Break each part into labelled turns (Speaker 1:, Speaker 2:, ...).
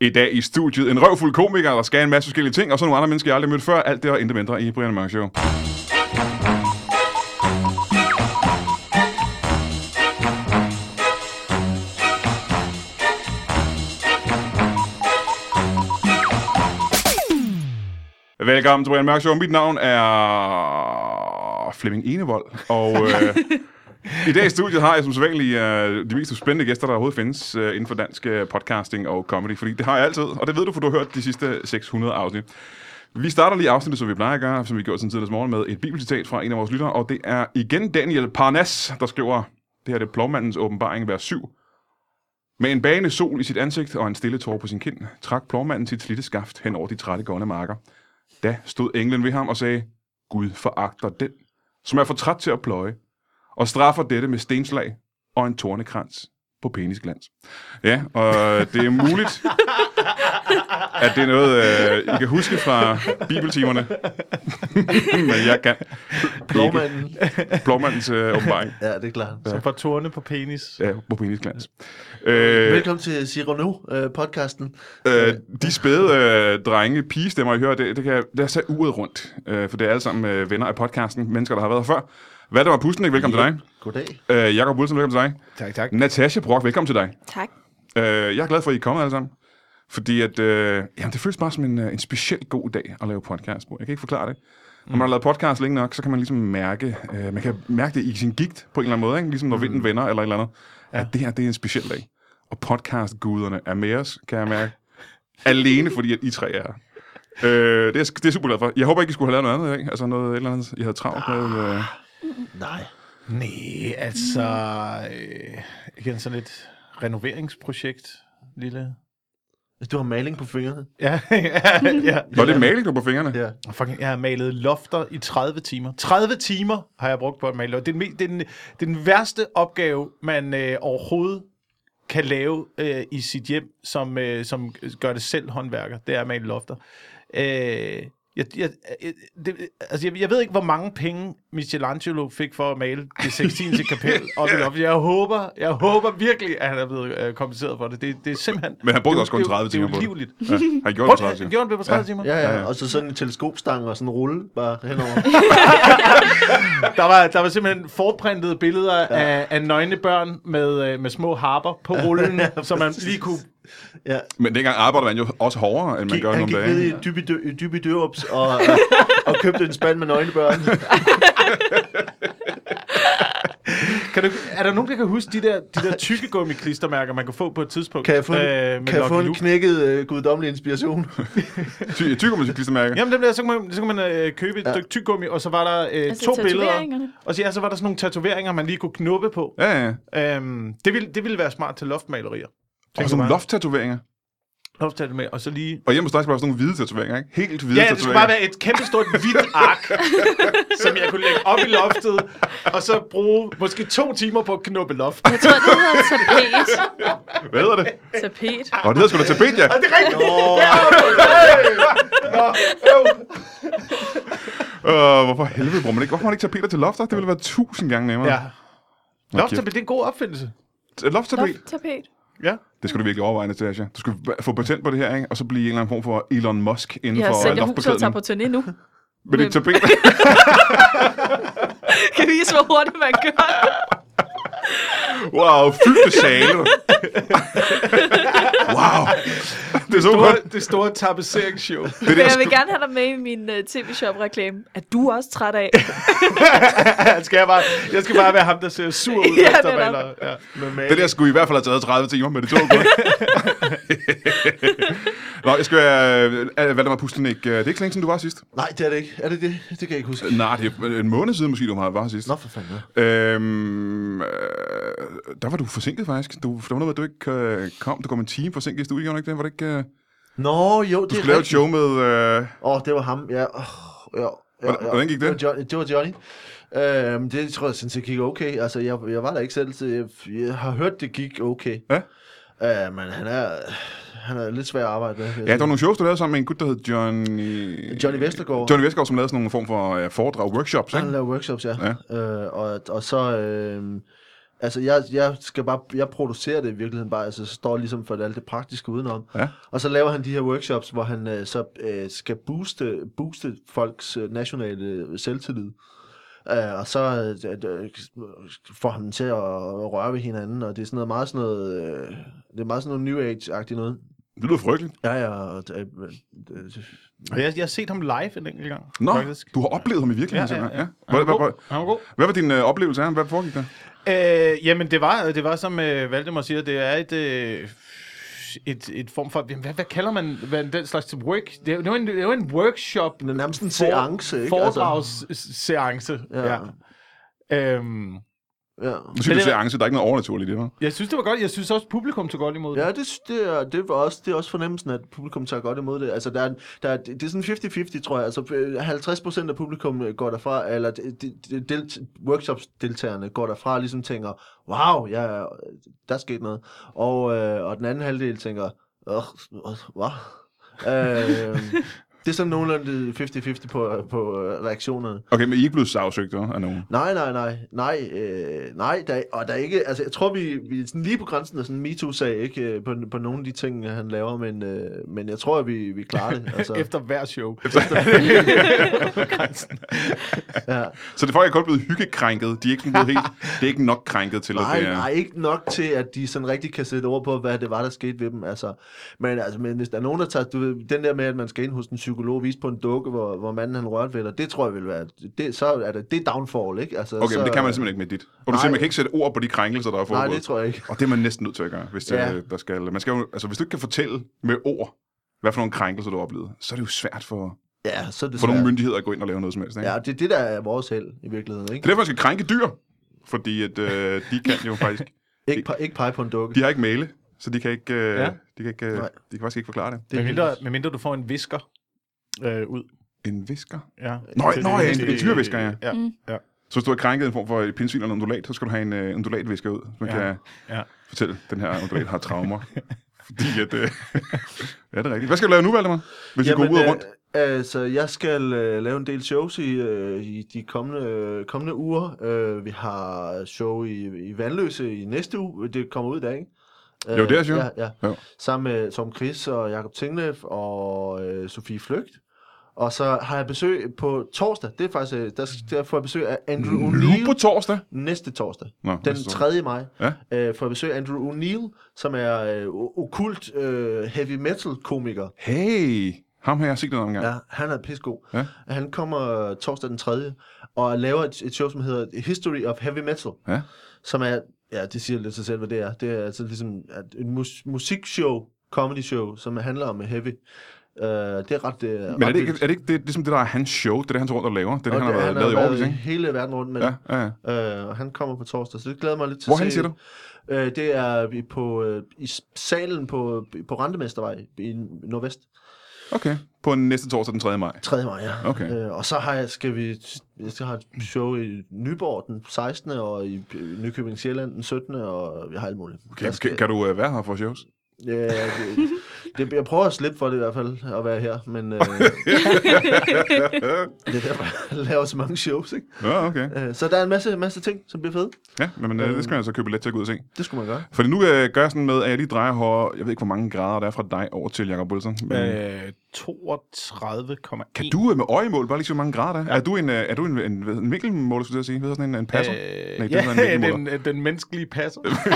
Speaker 1: I dag i studiet en røvfuld komiker, der skal en masse forskellige ting, og så nogle andre mennesker, jeg aldrig har mødt før. Alt det og intet mindre i Brian Mørk Show. Velkommen til Brian Mørk Show. Mit navn er Flemming Enevold, og øh, i dag i studiet har jeg som sædvanlig øh, de mest spændende gæster, der overhovedet findes øh, inden for dansk øh, podcasting og comedy, fordi det har jeg altid, og det ved du, for du har hørt de sidste 600 afsnit. Vi starter lige afsnittet, som vi plejer at gøre, som vi gjorde siden tidligere morgen, med et bibelcitat fra en af vores lyttere, og det er igen Daniel Parnas, der skriver, det her det er plovmandens åbenbaring, vers 7. Med en bagende sol i sit ansigt og en stille tår på sin kind, trak plovmanden sit slitte skaft hen over de trætte gående marker. Da stod englen ved ham og sagde, Gud foragter den, som er for træt til at pløje, og straffer dette med stenslag og en tornekrans på penisglans. Ja, og det er muligt, at det er noget, øh, I kan huske fra bibeltimerne. Men jeg kan ikke.
Speaker 2: Blåmanden.
Speaker 1: Blåmandens øh, åbenbaring.
Speaker 2: Ja, det er klart.
Speaker 3: Så får tårne på penis.
Speaker 1: Ja, på penisglans. Øh,
Speaker 2: Velkommen til Cyrano, øh, podcasten.
Speaker 1: Øh, de spæde øh, drenge, pigestemmer, I hører, det, det kan der tage uret rundt, øh, for det er alle sammen øh, venner af podcasten, mennesker, der har været her før. Hvad der var Pusten, ikke? Velkommen til
Speaker 2: Goddag.
Speaker 1: dig. Øh, Jakob Wilson, velkommen til dig.
Speaker 3: Tak, tak.
Speaker 1: Natasha Brock, velkommen til dig.
Speaker 4: Tak.
Speaker 1: Øh, jeg er glad for, at I er kommet alle sammen. Fordi at, øh, jamen, det føles bare som en, øh, en speciel god dag at lave podcast på. Jeg kan ikke forklare det. Når man har lavet podcast længe nok, så kan man ligesom mærke, øh, man kan mærke det i sin gigt på en eller anden måde, ikke? ligesom når vinden vender eller et eller andet, ja. at det her det er en speciel dag. Og podcastguderne er med os, kan jeg mærke. Alene fordi, at I tre er her. Øh, det, er, jeg sk- det er jeg super glad for. Jeg håber ikke, I skulle have lavet noget andet i dag. Altså noget et eller andet, I havde travlt med. Øh.
Speaker 2: Nej.
Speaker 3: Nej, altså... Øh, igen, sådan et renoveringsprojekt, lille.
Speaker 2: Du har maling på fingrene.
Speaker 3: Ja, ja, ja.
Speaker 1: Nå, det er maling, du har på fingrene.
Speaker 2: Ja.
Speaker 3: Og Fucking, jeg har malet lofter i 30 timer. 30 timer har jeg brugt på at male lofter. Det er den, me- det er den, det er den værste opgave, man øh, overhovedet kan lave øh, i sit hjem, som, øh, som gør det selv håndværker. Det er at male lofter. Øh, jeg, jeg, jeg, det, altså jeg, jeg ved ikke, hvor mange penge Michelangelo fik for at male det 16. kapel op i loftet. Jeg håber, jeg håber virkelig, at han er blevet øh, kompenseret for det. Det, det er simpelthen...
Speaker 1: Men han brugte
Speaker 3: det er
Speaker 1: også kun
Speaker 3: jo- det er jo-
Speaker 1: 30 timer på
Speaker 3: Det er
Speaker 1: det.
Speaker 3: ulivligt.
Speaker 1: Ja, har I gjort det,
Speaker 3: Brugte-
Speaker 1: tror jeg.
Speaker 3: Gjorde han det på 30 timer?
Speaker 2: Ja, ja,
Speaker 1: Ja, ja.
Speaker 2: og så sådan en teleskopstang og sådan en rulle bare henover.
Speaker 3: Der var, der var simpelthen forprintede billeder ja. af, af nøgne børn med, øh, med små harper på rullen, ja, så man
Speaker 2: præcis.
Speaker 3: lige kunne...
Speaker 2: Ja.
Speaker 1: Men dengang arbejder man jo også hårdere, end man gør nu
Speaker 2: han
Speaker 1: om
Speaker 2: gik ned
Speaker 1: dagen.
Speaker 2: i dyb i, dø, i dyb i dørups og, øh, og købte en spand med nøglebørn.
Speaker 3: Kan du, er der nogen, der kan huske de der, de der tykkegummi-klistermærker, man kunne få på et tidspunkt? øh,
Speaker 2: Kan jeg få en,
Speaker 3: med
Speaker 2: kan jeg få
Speaker 3: Lucky
Speaker 2: en
Speaker 3: Luke?
Speaker 2: knækket øh, guddommelig inspiration?
Speaker 1: Ty- Tykker man sit klistermærke?
Speaker 3: Jamen, dem der, så kunne man, så kunne man øh, købe et
Speaker 2: Ja.
Speaker 3: stykke tyggegummi, og så var der øh,
Speaker 4: Altså
Speaker 3: to billeder.
Speaker 4: tatoveringerne?
Speaker 3: Og så, ja, så var der sådan nogle tatoveringer, man lige kunne knuppe på.
Speaker 1: Ja, ja.
Speaker 3: Øhm, det, ville, det ville være smart til loftmalerier.
Speaker 1: Og sådan nogle lofttatoveringer.
Speaker 3: Loft med, og så lige...
Speaker 1: Og hjemme hos dig skal bare sådan nogle hvide tatoveringer, ikke? Helt hvide
Speaker 3: Ja, det
Speaker 1: tatoveringer.
Speaker 3: skulle bare være et kæmpestort hvidt ark, som jeg kunne lægge op i loftet, og så bruge måske to timer på at knuppe loftet.
Speaker 4: Jeg tror, det hedder tapet.
Speaker 1: Hvad hedder det?
Speaker 4: Tapet.
Speaker 1: Og det hedder sgu da tapet, ja.
Speaker 3: Det er rigtigt.
Speaker 1: Øh, hvorfor helvede bruger man ikke? Hvorfor har man ikke tapeter til lofter? Det ville være tusind gange nemmere.
Speaker 3: Ja. Loftet, det er en god opfindelse.
Speaker 1: T- Lofttapet?
Speaker 4: Tapet.
Speaker 3: Ja.
Speaker 1: Det skulle du virkelig overveje, Natasha. Du skulle v- få patent på det her, ikke? Og så blive en eller anden form for Elon Musk inden
Speaker 4: Jeg har
Speaker 1: for øh,
Speaker 4: sælger huset og tager
Speaker 1: loftbeklædning.
Speaker 4: på turné nu.
Speaker 1: Men det er tapet.
Speaker 4: Kan vise, hvor hurtigt man gør det.
Speaker 1: wow, fyldte sale. wow. Det er så godt.
Speaker 3: Store, det store tapetseringsshow.
Speaker 1: Det er
Speaker 4: Men
Speaker 1: det, jeg
Speaker 4: jeg vil
Speaker 1: sk-
Speaker 4: gerne have dig med i min uh, tv-shop-reklame. Er du også træt af?
Speaker 3: skal jeg, bare, jeg skal bare være ham, der ser sur ud,
Speaker 4: Ja,
Speaker 3: ja, efter
Speaker 4: netop.
Speaker 3: maler. Ja.
Speaker 1: Det der skulle i hvert fald have taget 30 timer, men det tog godt. Nå, jeg skal være... Øh, Valdemar Pustenik, øh, det er ikke så længe siden, du var sidst.
Speaker 2: Nej, det er det ikke. Er det det? Det kan jeg ikke huske.
Speaker 1: Nej, det er en måned siden måske, du har var sidst.
Speaker 2: Nå, for fanden. ja.
Speaker 1: Øhm, øh, der var du forsinket faktisk. Du, der var noget, med, at du ikke øh, kom. Du kom en time forsinket i studiet, gjorde du ikke det? Var det ikke, øh,
Speaker 2: Nå, jo,
Speaker 1: du
Speaker 2: det er
Speaker 1: skulle lave et
Speaker 2: rigtigt.
Speaker 1: show med... Øh,
Speaker 2: Åh, oh, det var ham, ja. Oh, ja, ja,
Speaker 1: Hvordan-
Speaker 2: ja.
Speaker 1: hvordan gik det?
Speaker 2: Det var Johnny. Det, var Johnny. Øhm, det tror jeg sådan set gik okay. Altså, jeg, jeg var der ikke selv, så jeg, jeg har hørt, det gik okay.
Speaker 1: Ja.
Speaker 2: Øh, men han er, han er lidt svær at arbejde med. vil jeg
Speaker 1: ja, der var
Speaker 2: sige.
Speaker 1: nogle shows, du lavede sammen med en gut, der hed Johnny...
Speaker 2: Johnny Vestergaard.
Speaker 1: Johnny Vestergaard, som lavede sådan nogle form for øh, foredrag, workshops,
Speaker 2: Han
Speaker 1: ikke?
Speaker 2: laver workshops, ja. ja. Øh, og, og så... Øh, Altså, jeg, jeg, skal bare, jeg producerer det i virkeligheden bare, altså, så står jeg ligesom for alt det praktiske udenom.
Speaker 1: Ja.
Speaker 2: Og så laver han de her workshops, hvor han øh, så øh, skal booste, booste folks øh, nationale øh, selvtillid. Øh, og så øh, d- øh, får han dem til at, at røre ved hinanden, og det er sådan noget meget sådan noget, øh, det er meget sådan noget New Age-agtigt noget.
Speaker 1: Det lyder frygteligt.
Speaker 2: Ja, ja, og, øh, øh,
Speaker 3: Og jeg, jeg har set ham live en enkelt gang.
Speaker 1: Nå,
Speaker 3: faktisk.
Speaker 1: du har oplevet ham i virkeligheden.
Speaker 3: Ja, ja,
Speaker 1: simpelthen,
Speaker 3: ja.
Speaker 1: Hvad, hvad,
Speaker 3: Han var god.
Speaker 1: hvad,
Speaker 3: Han var god.
Speaker 1: hvad var din øh, oplevelse af ham? Hvad foregik der?
Speaker 3: Øh, jamen, det var, det var som øh, Valdemar siger, det er et... Øh, et, et form for, jamen, hvad, hvad kalder man hvad, den slags work? Det er, det er, en, det er jo en workshop.
Speaker 2: det er øh, nærmest en seance, ikke? Altså-
Speaker 3: Foredragsseance, ja.
Speaker 2: Ja.
Speaker 3: ja. Øhm,
Speaker 2: ja.
Speaker 1: Du siger,
Speaker 3: Men
Speaker 1: du
Speaker 3: det-
Speaker 1: ser angst, der er ikke noget overnaturligt i det, var?
Speaker 3: jeg synes, det var godt. Jeg synes også, publikum tog godt imod det.
Speaker 2: Ja, det, sy- det, er, det, var også, det er også fornemmelsen, at publikum tager godt imod det. Altså, der er, der er, det er sådan 50-50, tror jeg. Altså, øh, 50 procent af publikum øh, går derfra, eller de, de, de, workshops-deltagerne går derfra og ligesom tænker, wow, ja, der er sket noget. Og, øh, og den anden halvdel tænker, åh, åh, hvad? Øh, det er sådan nogenlunde 50-50 på, på øh, reaktionerne.
Speaker 1: Okay, men I er ikke blevet sagsøgt hva', af nogen.
Speaker 2: Nej, nej, nej, nej, øh, nej, der, og der er ikke, altså jeg tror, vi, vi er sådan lige på grænsen af sådan en MeToo-sag, ikke, øh, på, på nogle af de ting, han laver, men, øh, men jeg tror, at vi, vi klarer det, altså,
Speaker 3: Efter hver show.
Speaker 2: ja.
Speaker 1: Så det folk er kun blevet hyggekrænket. De er ikke, sådan blevet helt, det er ikke nok krænket til, at
Speaker 2: nej,
Speaker 1: det er...
Speaker 2: nej, ikke nok til, at de sådan rigtig kan sætte ord på, hvad det var, der skete ved dem, altså, men, altså, men hvis der er nogen, der tager, du ved, den der med, at man skal ind hos en psykolog og vise på en dukke, hvor, hvor manden han rørte ved, dig, det tror jeg vil være, det, så er det, det er downfall, ikke, altså,
Speaker 1: Okay,
Speaker 2: så,
Speaker 1: men det kan man simpelthen ikke med dit. Og du
Speaker 2: Nej.
Speaker 1: siger, man kan ikke sætte ord på de krænkelser, der er foregået.
Speaker 2: nej, det tror jeg ikke,
Speaker 1: Og det er man næsten nødt til at gøre, hvis, det,
Speaker 2: Ja.
Speaker 1: ja. der skal, man skal jo, altså, hvis du ikke kan fortælle med ord, hvad for nogle krænkelser du har oplevet, så er det jo svært for,
Speaker 2: ja, så er det
Speaker 1: for nogle
Speaker 2: svært.
Speaker 1: myndigheder at gå ind og lave noget som helst. Ikke?
Speaker 2: Ja, det er det, der er vores held i virkeligheden,
Speaker 1: Det er
Speaker 2: ikke?
Speaker 1: derfor, man skal krænke dyr, fordi at, øh, de kan jo faktisk...
Speaker 2: Ikke, pe- ikke pege på en dukke.
Speaker 1: De har ikke male, så de kan ikke... Øh,
Speaker 3: Ja.
Speaker 1: ja. de, kan ikke øh,
Speaker 2: Nej.
Speaker 1: de kan faktisk ikke forklare det.
Speaker 2: Det
Speaker 3: Med
Speaker 2: er
Speaker 3: mindre,
Speaker 2: vildt.
Speaker 3: med mindre du får en visker øh, ud.
Speaker 1: En visker?
Speaker 3: Ja.
Speaker 1: Nå,
Speaker 3: Til-
Speaker 1: nå ja, en,
Speaker 3: til-
Speaker 1: en tyrevisker, ja.
Speaker 3: ja. Mm. ja.
Speaker 1: Så hvis du har krænket en form for et pindsvin eller en undulat, så skal du have en øh, undulatvisker ud, så man
Speaker 3: Ja.
Speaker 1: ja. kan
Speaker 3: Ja.
Speaker 1: ja. fortælle, at den her undulat har traumer. fordi at... Øh, ja, det er rigtigt. Hvad skal du lave nu, Valdemar? Hvis Jamen, vi går ud og rundt?
Speaker 2: Øh, altså, jeg skal øh, lave en del shows i, øh, i de kommende, øh, kommende uger. Øh, vi har show i, i Vandløse i næste uge. Det kommer ud i dag, ikke? Øh,
Speaker 1: Jo, det er sjovt.
Speaker 2: Ja, ja.
Speaker 1: Jo.
Speaker 2: Sammen med Tom Chris og Jakob Tinglev og øh, Sofie Flygt. Og så har jeg besøg på torsdag. Det er faktisk, øh, der, der får jeg besøg af Andrew
Speaker 1: Nu på
Speaker 2: O'Neill
Speaker 1: torsdag?
Speaker 2: næste torsdag.
Speaker 1: Nå,
Speaker 2: Den
Speaker 1: næste torsdag.
Speaker 2: 3. maj
Speaker 1: Ja.
Speaker 2: øh, får jeg besøg af Andrew O'Neill, som er øh, o- okult øh, heavy metal komiker.
Speaker 1: Hey, ham har jeg set noget omgang. Ja.
Speaker 2: Ja, han er pissegod.
Speaker 1: Ja.
Speaker 2: Han kommer torsdag den 3. og laver et, et show, som hedder History of Heavy Metal,
Speaker 1: Ja.
Speaker 2: som er, ja, det siger lidt sig selv, hvad det er. Det er altså ligesom at et mus- musikshow, comedy show, som handler om heavy. Uh, det er ret... Det
Speaker 1: Men er det ikke, er det, ikke det, ligesom det, der er hans show? Det er det, han tager rundt og laver? Det er det, han har været lavet i årvis, ikke?
Speaker 2: hele verden rundt med
Speaker 1: Ja,
Speaker 2: ja.
Speaker 1: ja, ja.
Speaker 2: Øh, og han kommer på torsdag, så det glæder jeg mig lidt til
Speaker 1: Hvorhen
Speaker 2: at se.
Speaker 1: siger du?
Speaker 2: Øh, det er vi på, øh, i s- salen på, på Rentemestervej i Nordvest.
Speaker 1: Okay, på næste torsdag den 3. maj.
Speaker 2: 3. maj, ja.
Speaker 1: Okay.
Speaker 2: Øh, og så har jeg, skal vi, jeg skal have et show i Nyborg den 16. og i øh, Nykøbing Sjælland den 17. og jeg har alt muligt.
Speaker 1: Kan,
Speaker 2: Jeg
Speaker 1: skal...
Speaker 2: skal,
Speaker 1: kan du øh, være her for shows?
Speaker 2: ja, det, det, jeg prøver at slippe for det i hvert fald, at være her, men øh, det er derfor, jeg laver så mange shows, ikke?
Speaker 1: Ja, okay.
Speaker 2: Øh, så der er en masse, masse ting, som bliver fede.
Speaker 1: Ja, men, men øh, det skal jeg så købe billet til at gå ud og se.
Speaker 2: Det skulle man gøre.
Speaker 1: Fordi nu øh, gør jeg sådan med, at jeg lige drejer hår, jeg ved ikke, hvor mange grader der er fra dig over til Jacob Wilson. Men, øh.
Speaker 3: Øh, 32,1.
Speaker 1: Kan du øh, med øjemål bare lige se, hvor mange grader der er? Ja. Er du en, øh, er du en, en, en vinkelmåler, skulle jeg til at sige? Hvad hedder sådan en, en passer?
Speaker 3: Øh,
Speaker 1: Nej, det hedder en
Speaker 3: ja,
Speaker 1: vinkelmåler.
Speaker 3: den, den, den menneskelige passer.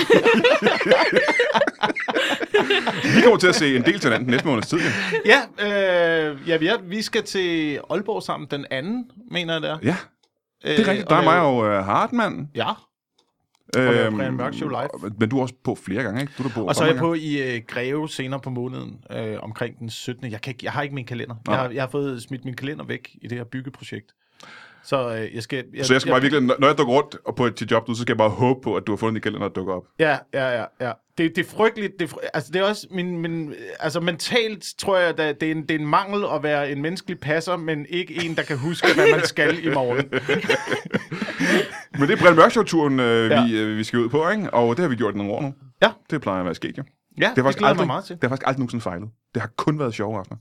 Speaker 1: Vi kommer til at se en del til hinanden næste måneds tid. Ja.
Speaker 3: ja, øh, ja, vi, er, vi skal til Aalborg sammen den anden, mener jeg det er.
Speaker 1: ja, det er rigtigt. Der er mig og øh, Hartmann.
Speaker 3: Ja,
Speaker 1: Øh,
Speaker 3: lave Brian Mørk Show live.
Speaker 1: Men du er også på flere gange, ikke? Du er der på
Speaker 3: og så er jeg
Speaker 1: mange
Speaker 3: på i øh, Greve senere på måneden, øh, omkring den 17. Jeg, kan ikke, jeg har ikke min kalender.
Speaker 1: Nej.
Speaker 3: Jeg har, jeg har fået smidt min kalender væk i det her byggeprojekt. Så øh, jeg skal...
Speaker 1: gange. Så jeg skal bare virkelig, når- når jeg dukker rundt og på et til job, nu, så skal jeg bare håbe på, at du har fundet en kalender, der dukker op.
Speaker 3: Ja, ja, ja, ja. Det, det er frygteligt. Det er, fry- altså, det er også min, min... Altså, mentalt tror jeg, at det er, en, det er en mangel at være en menneskelig passer, men ikke en, der kan huske, hvad man skal i morgen.
Speaker 1: Men det er Brian Mørk Show-turen, øh,
Speaker 3: Ja.
Speaker 1: ja. vi, øh, vi skal ud på, ikke? Og det har vi gjort i nogle år nu.
Speaker 3: Ja.
Speaker 1: Det plejer at være sket, jo. Det
Speaker 3: Ja, det,
Speaker 1: har
Speaker 3: det
Speaker 1: faktisk
Speaker 3: glæder jeg
Speaker 1: aldrig,
Speaker 3: mig meget til.
Speaker 1: det har faktisk aldrig nogensinde fejlet. Det har kun været sjove aftener.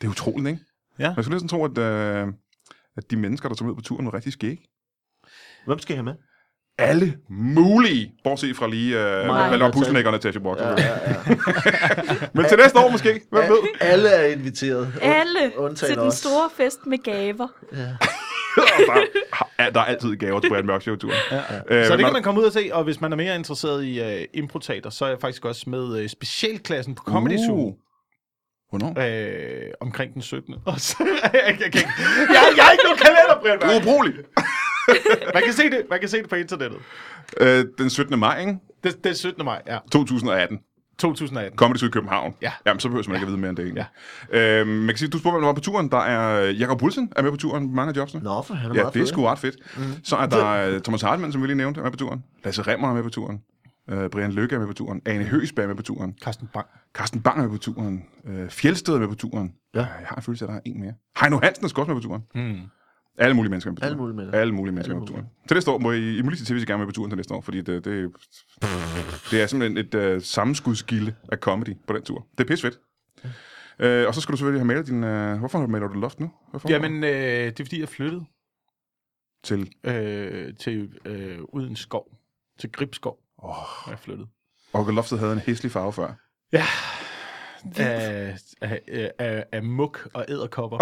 Speaker 1: Det er utroligt, ikke?
Speaker 3: Ja.
Speaker 1: Man skulle næsten tro, at, øh, at de mennesker, der tog med på turen, var rigtig skæg.
Speaker 2: Hvem skal jeg have med?
Speaker 1: alle mulige, bortset fra lige øh,
Speaker 2: Mig.
Speaker 1: Valdemar Pussenækkerne til Asher Brock. Ja, ja, ja. Men til næste år måske, hvem ved?
Speaker 2: Alle er inviteret. Und-
Speaker 4: Alle
Speaker 2: undtagen
Speaker 4: til den
Speaker 2: os.
Speaker 4: store fest med gaver.
Speaker 1: Ja, der er altid gaver til Brian Mørk Show-turen. Ja, ja. Øh,
Speaker 3: Så
Speaker 1: men
Speaker 3: det kan
Speaker 1: når-
Speaker 3: man komme ud og se, og hvis man er mere interesseret i øh, improtater, så er jeg faktisk også med øh, specialklassen på Comedy Zoo.
Speaker 1: Uh. Hvornår?
Speaker 3: øh, omkring den 17. Og så, jeg, jeg, jeg, jeg, jeg, jeg er ikke nogen kalender, Brian
Speaker 1: Du er
Speaker 3: Mørk.
Speaker 1: ubrugelig.
Speaker 3: Man kan se det, man kan se det på internettet.
Speaker 1: Øh, den 17. maj, ikke?
Speaker 3: Det, det er 17. maj, ja.
Speaker 1: 2018.
Speaker 3: 2018.
Speaker 1: Comedy Syd København.
Speaker 3: Ja.
Speaker 1: Jamen, så behøver man ikke at vide mere end det. egentlig. Øhm, man kan sige, du spurgte, hvem der var på turen. Der er Jakob Wilson er med på turen på mange af jobsene.
Speaker 2: Nå, for han er
Speaker 1: ja,
Speaker 2: meget
Speaker 1: det er
Speaker 2: fed.
Speaker 1: sgu ret fedt.
Speaker 2: Mhm.
Speaker 1: Mm. Så er der øh, Thomas Hartmann, som vi lige nævnte, er med på turen. Lasse Remmer er med på turen. Øh, Brian Lykke er med på turen. Ane Høgsberg er med på turen.
Speaker 3: Carsten Bang.
Speaker 1: Carsten Bang er med på turen. Øh, Fjeldsted er med på turen.
Speaker 2: Ja. Hmm.
Speaker 1: Øh, Jeg har en følelse af, at der er en mere. Heino Hansen er sgu også med på turen. Mm. Alle mulige mennesker er med på turen.
Speaker 2: Alle mulige mennesker.
Speaker 1: Alle mulige mennesker er med på turen. Til næste år må I, I må lige sige til, hvis I gerne vil med på turen til næste år, fordi det, det, det er simpelthen et øh, sammenskudsgilde af comedy på den tur. Det er pissefedt. Øh, og så skal du selvfølgelig have malet din... Øh, hvorfor maler du loft nu? Hvorfor?
Speaker 3: Jamen, øh, det er fordi, jeg flyttede
Speaker 1: Til...
Speaker 3: øh, til øh, uden skov. Til Gribskov. Oh. Jeg flyttede.
Speaker 1: Og loftet havde en hæslig farve før.
Speaker 3: Ja. Af, af, af- af, af muk og æderkopper.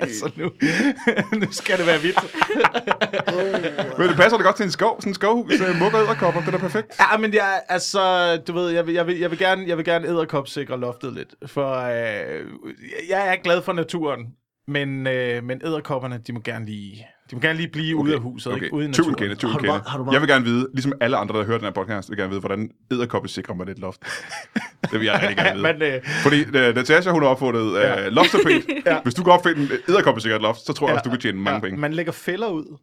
Speaker 3: altså nu, nu skal det være vildt.
Speaker 1: Men det passer det godt til en skov, sådan en skovhus, øh, muk og æderkopper, det er da perfekt.
Speaker 3: Ja, men jeg, altså, du ved, jeg vil, jeg vil, jeg vil gerne, jeg vil gerne æderkopsikre loftet lidt, for øh, jeg er glad for naturen, men, øh, men æderkopperne, de må gerne lige, de må gerne lige blive okay, ude af huset, okay. ikke? Ude i
Speaker 1: Tyven
Speaker 3: naturen.
Speaker 1: kende, tyven
Speaker 2: Har du
Speaker 1: kende.
Speaker 2: meget- har du meget-
Speaker 1: Jeg vil gerne vide, ligesom alle andre, der hører den her podcast, vil gerne vide, hvordan æderkoppe sikrer mig lidt loft. det vil jeg rigtig gerne vide.
Speaker 3: Men, øh,
Speaker 1: Fordi øh, Natasha, hun har opfundet øh, loftapet. ja. Hvis du kan opfinde en æderkoppesikret loft, så tror jeg også, du kan tjene mange penge.
Speaker 3: Man lægger fælder ud.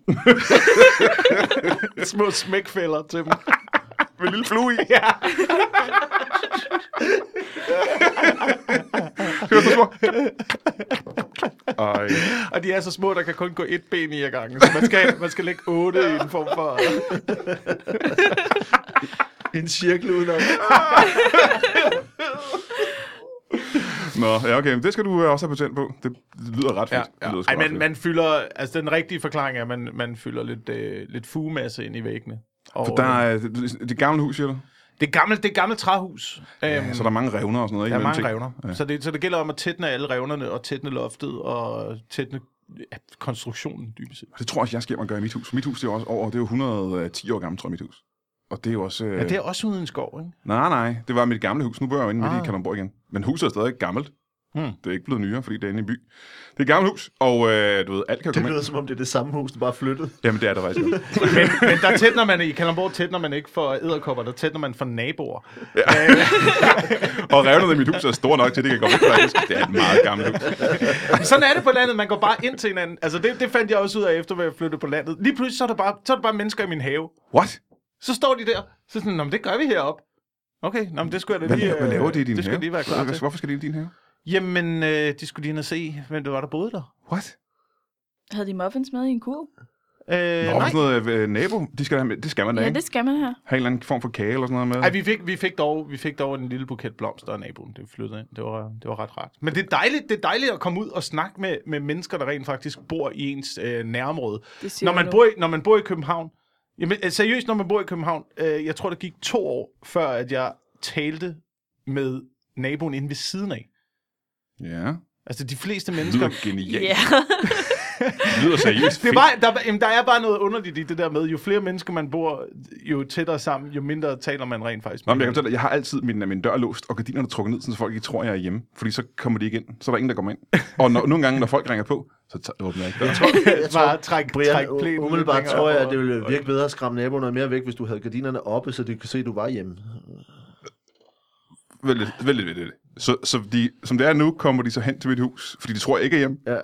Speaker 3: Små smækfælder til dem.
Speaker 1: Med en lille flue i.
Speaker 3: Ja.
Speaker 1: Hører du så små? Ej.
Speaker 3: Og de er så små, der kan kun gå et ben i ad gangen. Så man skal, man skal lægge otte i en form for...
Speaker 2: En cirkel udenom.
Speaker 1: Nå, ja, okay. Men det skal du øh, også have patent på. Det lyder ret fedt. Det lyder sgu ret
Speaker 3: Ej, men
Speaker 1: fedt.
Speaker 3: man fylder... Altså, den rigtige forklaring er, at man, man fylder lidt, øh, lidt fugemasse ind i væggene. Og, øh,
Speaker 1: For der er øh, det, det gamle hus, siger du?
Speaker 3: Det er gammelt, det er gammelt træhus. Ja, øhm,
Speaker 1: Så der er mange revner og sådan noget, ikke?
Speaker 3: der
Speaker 1: Mellem
Speaker 3: er mange
Speaker 1: ting.
Speaker 3: revner. Ja. Så, det, så det gælder om at tætne alle revnerne, og tætne loftet, og tætne ja, konstruktionen dybest set.
Speaker 1: Det tror jeg også, jeg skal hjem og gøre i mit hus. Mit hus det er jo også over, det er jo 110 år gammelt, tror jeg, mit hus. Og det er jo også... Øh...
Speaker 3: Ja, det er også uden skov, ikke?
Speaker 1: Nej, nej, det var mit gamle hus. Nu bor jeg jo inde midt i
Speaker 3: Ah.
Speaker 1: Kalundborg igen. Men huset er stadig gammelt.
Speaker 3: Hmm.
Speaker 1: Det er ikke blevet nyere, fordi det er inde i en by. Det er et gammelt hus, og øh, du ved, alt kan
Speaker 2: Det
Speaker 1: komme
Speaker 2: lyder
Speaker 1: ind.
Speaker 2: som om, det er det samme hus, der bare er flyttet.
Speaker 1: Jamen, det er der faktisk også.
Speaker 3: Men, men der tætner man, i Kalamborg tætner man ikke for æderkopper, der tætner man for naboer.
Speaker 1: Og revnerne i mit hus er store nok til, at det kan komme ud faktisk. Det er et meget gammelt hus.
Speaker 3: Sådan er det på landet, man går bare ind til hinanden. Altså det, det fandt jeg også ud af efter, at jeg flyttede på landet. Lige pludselig, så er der bare, så er der bare mennesker i min have.
Speaker 1: What?
Speaker 3: Så står de der, så sådan, "Nå, men det gør vi heroppe. Okay, nå, men det skulle jeg da
Speaker 1: Hvad,
Speaker 3: lige... øh,
Speaker 1: laver, hvad laver de i din
Speaker 3: det
Speaker 1: have?
Speaker 3: skulle jeg lige være klar til.
Speaker 1: Hvorfor skal de i din have?
Speaker 3: Jamen, øh, de skulle lige ind og se, hvem det var, der boede der.
Speaker 1: What?
Speaker 4: Havde de muffins med i en kurv?
Speaker 3: Øh,
Speaker 1: Nå,
Speaker 3: nej.
Speaker 1: sådan noget øh, nabo, de skal, da have med- det skal man da,
Speaker 4: Ja,
Speaker 1: ikke?
Speaker 4: det skal man her.
Speaker 1: Have en eller anden form for kage eller sådan noget med.
Speaker 3: Ej, vi fik, vi, fik dog, vi fik dog en lille buket blomster af naboen, det flyttede ind. Det var, det var ret rart. Men det er, dejligt, det er dejligt at komme ud og snakke med, med mennesker, der rent faktisk bor i ens øh, nærområde.
Speaker 4: Det siger
Speaker 3: Når
Speaker 4: du
Speaker 3: man,
Speaker 4: nu.
Speaker 3: bor i, når man bor i København, jamen, øh, seriøst, når man bor i København, øh, jeg tror, der gik to år, før at jeg talte med naboen inde ved siden af.
Speaker 1: Ja.
Speaker 3: Altså de fleste
Speaker 1: Det
Speaker 3: mennesker...
Speaker 1: lyder genialt.
Speaker 4: Ja.
Speaker 1: Det lyder seriøst
Speaker 3: Det er
Speaker 1: fedt.
Speaker 3: bare, der, jamen, der er bare noget underligt i det der med, jo flere mennesker man bor, jo tættere sammen, jo mindre taler man rent faktisk.
Speaker 1: Nå, men
Speaker 3: med
Speaker 1: jeg kan
Speaker 3: hinanden.
Speaker 1: fortælle dig, jeg har altid min, min dør låst, og gardinerne trukket ned, sådan, så folk ikke tror, jeg er hjemme. Fordi så kommer de ikke ind. Så er der ingen, der kommer ind. Og når, nogle gange, når folk ringer på, så tager, åbner jeg ikke døren.
Speaker 2: Jeg tror,
Speaker 3: Bare træk,
Speaker 2: Brian,
Speaker 3: træk plænen lidt
Speaker 2: umiddelbart
Speaker 3: længere
Speaker 2: tror jeg,
Speaker 3: op,
Speaker 2: at det
Speaker 3: og-
Speaker 2: ville virke bedre at skræmme naboen noget mere væk, hvis du havde gardinerne oppe, så de kunne se, at du var hjemme.
Speaker 1: Vent lidt, vent lidt, vent lidt. Så, så de, som det er nu, kommer de så hen til mit hus, fordi de tror, jeg ikke er hjemme.
Speaker 2: Ja,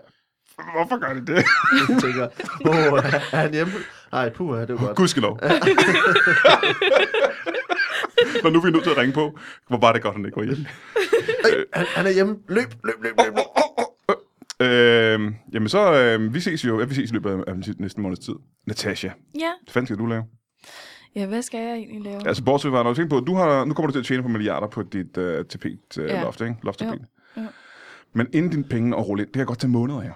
Speaker 1: Hvorfor gør de det?
Speaker 2: jeg tænker, åh, oh, er han hjemme? Ej, puh, det var godt.
Speaker 1: Gudskelov. Når nu er vi nødt til at ringe på, hvor var det godt, han ikke var hjemme.
Speaker 2: Øh, Han, han er hjemme. Løb, løb, løb, løb. løb.
Speaker 1: Øhm, jamen så, øhm, vi ses jo, ja, vi ses i løbet af, af den næste måneds tid. Natasha,
Speaker 4: ja.
Speaker 1: hvad fanden skal du lave?
Speaker 4: Ja, hvad skal jeg egentlig lave?
Speaker 1: Altså, bortset fra, når du tænker på, at du har, nu kommer du til at tjene på milliarder på dit uh, tapet, uh, ja.
Speaker 4: Ja.
Speaker 1: loft, ikke? Lofttapet.
Speaker 4: Jo, jo.
Speaker 1: Men inden dine penge og rulle ind, det kan godt tage måneder her.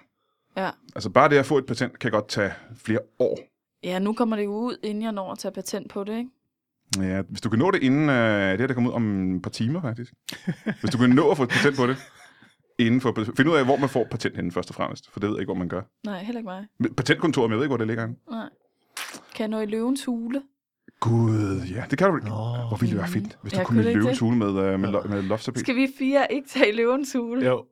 Speaker 4: Ja.
Speaker 1: Altså, bare det at få et patent kan godt tage flere år.
Speaker 4: Ja, nu kommer det jo ud, inden jeg når at tage patent på det, ikke?
Speaker 1: Ja, hvis du kan nå det inden... Øh, det her, der kommer ud om et par timer, faktisk. Hvis du kan nå at få et patent på det. Inden for, find ud af, hvor man får patent henne, først og fremmest. For det ved jeg ikke, hvor man gør.
Speaker 4: Nej, heller ikke mig.
Speaker 1: Men Patentkontoret, men jeg ved ikke, hvor det ligger henne.
Speaker 4: Nej. Kan jeg nå i løvens hule?
Speaker 1: Gud, ja. Det kan du ikke. Hvor ville det være fedt, hvis du
Speaker 4: Jeg
Speaker 1: kom i
Speaker 4: kunne ikke
Speaker 1: løvens hule med, øh, med, lo- med loftapet.
Speaker 4: Skal vi fire ikke tage i løvens hule?
Speaker 3: Jo.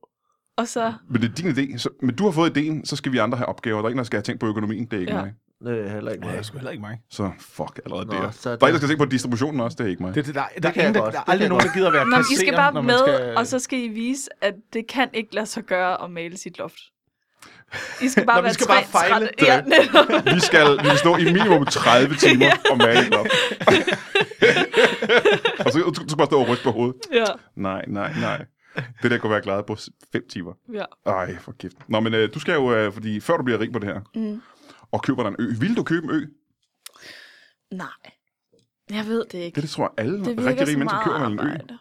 Speaker 4: Og så...
Speaker 1: Men det er din idé. Så, men du har fået idéen, så skal vi andre have opgaver. Der er en, der skal have tænkt på økonomien. Det er ikke ja.
Speaker 4: Ja.
Speaker 1: mig.
Speaker 2: Det er Øh, heller ikke
Speaker 3: Ja, det er
Speaker 2: meget.
Speaker 3: sgu heller ikke mig.
Speaker 1: Så fuck allerede Nå,
Speaker 2: Nå,
Speaker 1: der.
Speaker 2: så
Speaker 1: Der er
Speaker 2: er
Speaker 1: en, der
Speaker 2: det-
Speaker 1: skal tænke på distributionen også. Det er ikke mig.
Speaker 3: Det, det, der, der, der,
Speaker 2: kan
Speaker 3: er,
Speaker 2: jeg
Speaker 3: ingen, der,
Speaker 2: godt.
Speaker 3: der er
Speaker 2: Det
Speaker 3: aldrig
Speaker 2: kan
Speaker 3: nogen,
Speaker 2: jeg
Speaker 3: der gider at være
Speaker 4: Nå, men I skal
Speaker 3: kasserer,
Speaker 4: bare
Speaker 3: når man
Speaker 4: med,
Speaker 3: skal-
Speaker 4: skal... og så skal I vise, at det kan ikke lade sig gøre at male sit loft. I skal bare
Speaker 3: Nå, vi
Speaker 4: være
Speaker 3: skal
Speaker 4: tre,
Speaker 3: bare fejle
Speaker 4: trætte- Ja, netop.
Speaker 1: Vi skal, vi skal stå i minimum 30 timer og male et loft. og så du, du skal bare stå og ryste på hovedet.
Speaker 4: ja,
Speaker 1: Nej, nej, nej. Det der kunne være klaret på 5 timer.
Speaker 4: ja.
Speaker 1: Ej, for kæft. Nå, men øh, du skal jo, øh, fordi før du bliver rig på det her,
Speaker 4: Mm.
Speaker 1: og køber dig en ø. Vil du købe en ø?
Speaker 4: Nej, jeg ved det ikke.
Speaker 1: Det, det tror jeg alle
Speaker 4: det
Speaker 1: rigtig rige
Speaker 4: så
Speaker 1: mennesker
Speaker 4: meget
Speaker 1: køber vel en ø.
Speaker 4: arbejde.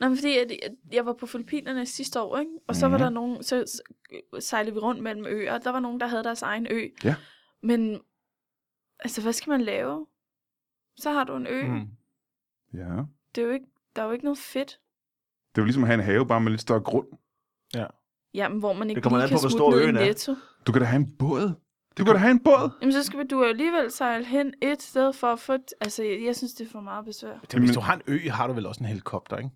Speaker 4: Nå, men fordi at jeg var på Filippinerne sidste år, ikke? og så mm. var
Speaker 1: Mhm.
Speaker 4: der nogen, så s- sejlede vi rundt mellem øer, og der var nogen, der havde deres egen ø.
Speaker 1: Ja.
Speaker 4: Men, altså, hvad skal man lave? Så har du en ø. Mm.
Speaker 3: Mm.
Speaker 1: Ja.
Speaker 4: Det er jo ikke, der er jo ikke noget fedt.
Speaker 1: Det er jo ligesom at have en have, bare med lidt større grund.
Speaker 4: Jamen, hvor man ikke
Speaker 2: kommer
Speaker 4: lige
Speaker 2: an
Speaker 4: kan
Speaker 2: på, hvor
Speaker 4: smutte
Speaker 2: stor
Speaker 4: ned i
Speaker 2: øen er.
Speaker 4: netto.
Speaker 1: Du kan da have en båd. Du kan da have en båd.
Speaker 4: Jamen, så skal du alligevel sejle hen et sted for at få... et- Altså, jeg, jeg synes, det er for meget besvær.
Speaker 3: Det, hvis du har en ø, har du vel også en helikopter, ikke?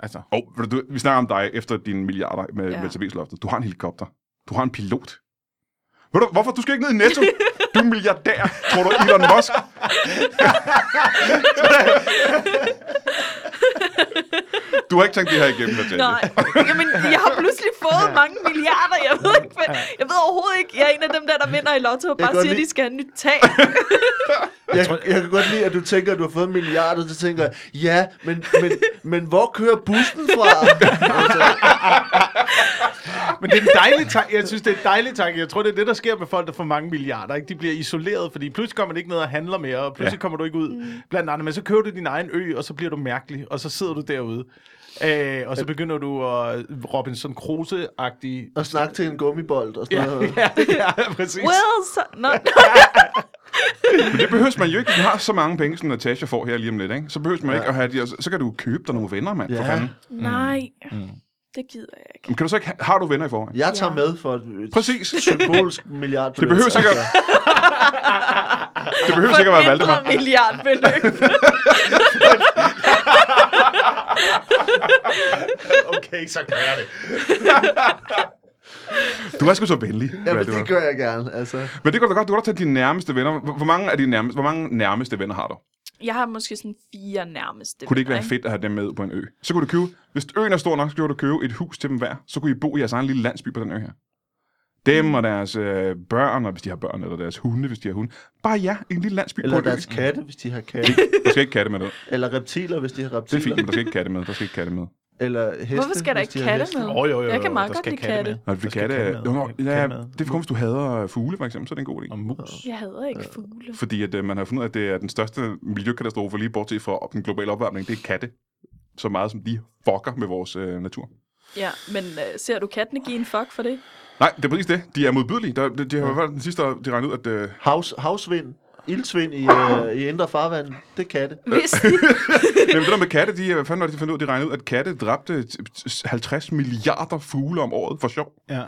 Speaker 3: Altså,
Speaker 1: Og oh, du, vi snakker om dig efter dine milliarder med, ja.
Speaker 4: Ja.
Speaker 1: med serviceloftet. Du har en helikopter. Du har en pilot. Ved du, hvorfor? Du skal ikke ned i Netto. Du er milliardær. Tror du, Elon Musk? du har ikke tænkt det her igennem, Natalia.
Speaker 4: Nej, jamen, jeg har pludselig fået mange milliarder. Jeg ved, ikke, hvad, jeg ved overhovedet ikke. Jeg er en af dem der, der vinder i lotto og
Speaker 2: Jeg
Speaker 4: bare
Speaker 2: kan godt
Speaker 4: siger, at de
Speaker 2: lide-
Speaker 4: skal have et nyt tag.
Speaker 2: Jeg, jeg kan godt lide, at du tænker, at du har fået en milliard, og så tænker jeg, ja, men, men, men hvor kører bussen fra? altså,
Speaker 3: Men det er en dejlig tanke. Jeg synes, det er en dejlig tanke. Jeg tror, det er det, der sker med folk, der får mange milliarder. Ikke? De bliver isoleret, fordi pludselig kommer man ikke ned og handler mere, og pludselig
Speaker 1: Ja.
Speaker 3: ja. kommer du ikke ud
Speaker 4: Mm.
Speaker 3: blandt andet. Men så køber du din egen ø, og så bliver du mærkelig, og så sidder du derude. Øh, og så begynder du at Robinson Crusoe-agtig...
Speaker 2: og snakke til en gummibold og sådan
Speaker 3: Ja,
Speaker 2: ja. noget.
Speaker 3: ja, ja, præcis.
Speaker 4: Well, så... Nå,
Speaker 1: Men det behøver man jo ikke. Du har så mange penge, som Natasha får her lige om lidt. Ikke? Så behøver man ja. ikke at have de, her- så, så kan du købe dig nogle venner, mand. Ja. For
Speaker 2: Ja.
Speaker 1: fanden.
Speaker 4: nej.
Speaker 1: Mm.
Speaker 4: Det gider jeg ikke.
Speaker 1: Men kan du så ikke, ha- har du venner i forvejen?
Speaker 2: Jeg tager
Speaker 4: Ja.
Speaker 2: med for et
Speaker 1: Præcis.
Speaker 2: symbolsk milliard.
Speaker 1: Det behøver sikkert... det behøver sikkert at være Valdemar.
Speaker 4: milliardbeløb.
Speaker 3: Okay, så gør jeg det.
Speaker 1: Du er sgu så venlig.
Speaker 2: Jamen,
Speaker 1: Valdemar.
Speaker 2: det gør jeg gerne, altså.
Speaker 1: Men det går da godt. Du kan godt tage dine nærmeste venner. Hvor hvor mange, af dine nærmeste, hvor mange nærmeste venner har du?
Speaker 4: Jeg har måske sådan fire nærmeste.
Speaker 1: Kunne det ikke
Speaker 4: venner,
Speaker 1: være fedt at have dem med ud på en ø? Så kunne du købe, hvis øen er stor nok, så kunne du købe et hus til dem hver. Så kunne I bo i jeres egen lille landsby på den ø her. Dem og deres øh, børn, og hvis de har børn, eller deres hunde, hvis de har hunde. Bare ja, en lille landsby
Speaker 2: Eller
Speaker 1: på en ø.
Speaker 2: deres katte, hvis de har katte.
Speaker 1: Der skal ikke katte med det.
Speaker 2: Eller reptiler, hvis de har
Speaker 1: Det er
Speaker 2: reptiler.
Speaker 1: fint, men der skal ikke katte med. Der skal ikke katte med.
Speaker 2: Eller heste,
Speaker 4: Hvorfor skal der
Speaker 2: hvis
Speaker 4: ikke
Speaker 2: de har
Speaker 4: katte
Speaker 2: heste.
Speaker 4: med?
Speaker 3: Jo, jo, jo,
Speaker 4: Jeg kan
Speaker 3: jo,
Speaker 4: meget
Speaker 3: der
Speaker 4: godt
Speaker 3: skal
Speaker 4: lide
Speaker 3: katte
Speaker 4: katte.
Speaker 1: Når vi
Speaker 3: Der skal
Speaker 1: katte,
Speaker 3: katte med.
Speaker 1: Nå, nå,
Speaker 3: Katte
Speaker 1: ja,
Speaker 3: med.
Speaker 1: det er for, hvis du hader fugle, for eksempel, så er det en god idé.
Speaker 3: Og mus.
Speaker 4: Jeg hader ikke fugle.
Speaker 1: Fordi at, øh, man har fundet ud af, at det er den største miljøkatastrofe, lige bortset fra op- den globale opvarmning, det er katte. Så meget som de fucker med vores øh, natur.
Speaker 4: Ja, men øh, ser du kattene give en fuck for det?
Speaker 1: Nej, det er præcis det. De er modbydelige. Der, de, de har i hvert fald den sidste, år, de regnede ud, at... Øh,
Speaker 2: Havs, havsvind, ildsvind i, øh, i indre farvand, det er katte.
Speaker 1: Øh.
Speaker 4: Hvis de...
Speaker 1: jamen, det der med katte, de, hvad fanden var det, de fandt ud af? De regnede ud, at katte dræbte t- t- 50 milliarder fugle om året for sjov.
Speaker 3: Ja.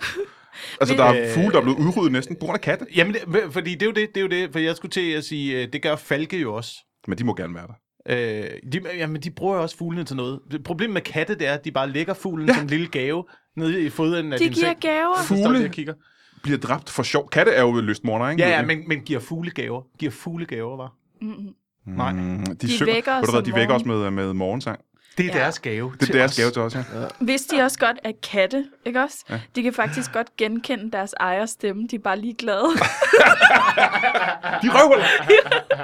Speaker 1: Altså, der er
Speaker 3: Øh,
Speaker 1: fugle, der er blevet udryddet næsten på grund af katte.
Speaker 3: Jamen, det, fordi det er jo det, det er jo det. For jeg skulle til at sige, øh, det gør falke jo også.
Speaker 1: Men de må gerne være der.
Speaker 3: Øh, de, jamen, de bruger jo også fuglene til noget. Problemet med katte, det er, at de bare lægger fuglen ja. som en lille gave nede i foden af
Speaker 4: De
Speaker 3: din
Speaker 4: giver
Speaker 3: seng.
Speaker 4: gaver.
Speaker 3: Så står
Speaker 1: Fugle.
Speaker 3: de og kigger.
Speaker 1: Bliver dræbt for sjov. Katte er jo lystmorder, ikke?
Speaker 3: Ja, ja, men, men giver fuglegaver. Giver fuglegaver, var.
Speaker 4: Mm-mm.
Speaker 3: Nej,
Speaker 1: Mm, de, de
Speaker 4: De
Speaker 1: synger,
Speaker 4: vækker
Speaker 1: vækker
Speaker 4: os
Speaker 1: os hvad,
Speaker 4: om
Speaker 1: De vækker os
Speaker 4: morgenen.
Speaker 1: med, øh, med morgensang.
Speaker 3: det er
Speaker 4: Ja.
Speaker 3: deres gave.
Speaker 1: Det er deres gave til os, ja.
Speaker 4: Vidste de også godt, at katte, ikke også?
Speaker 1: Ja.
Speaker 4: Ja. De kan faktisk godt genkende deres ejers stemme. De er bare ligeglade.
Speaker 1: De er røvhuller.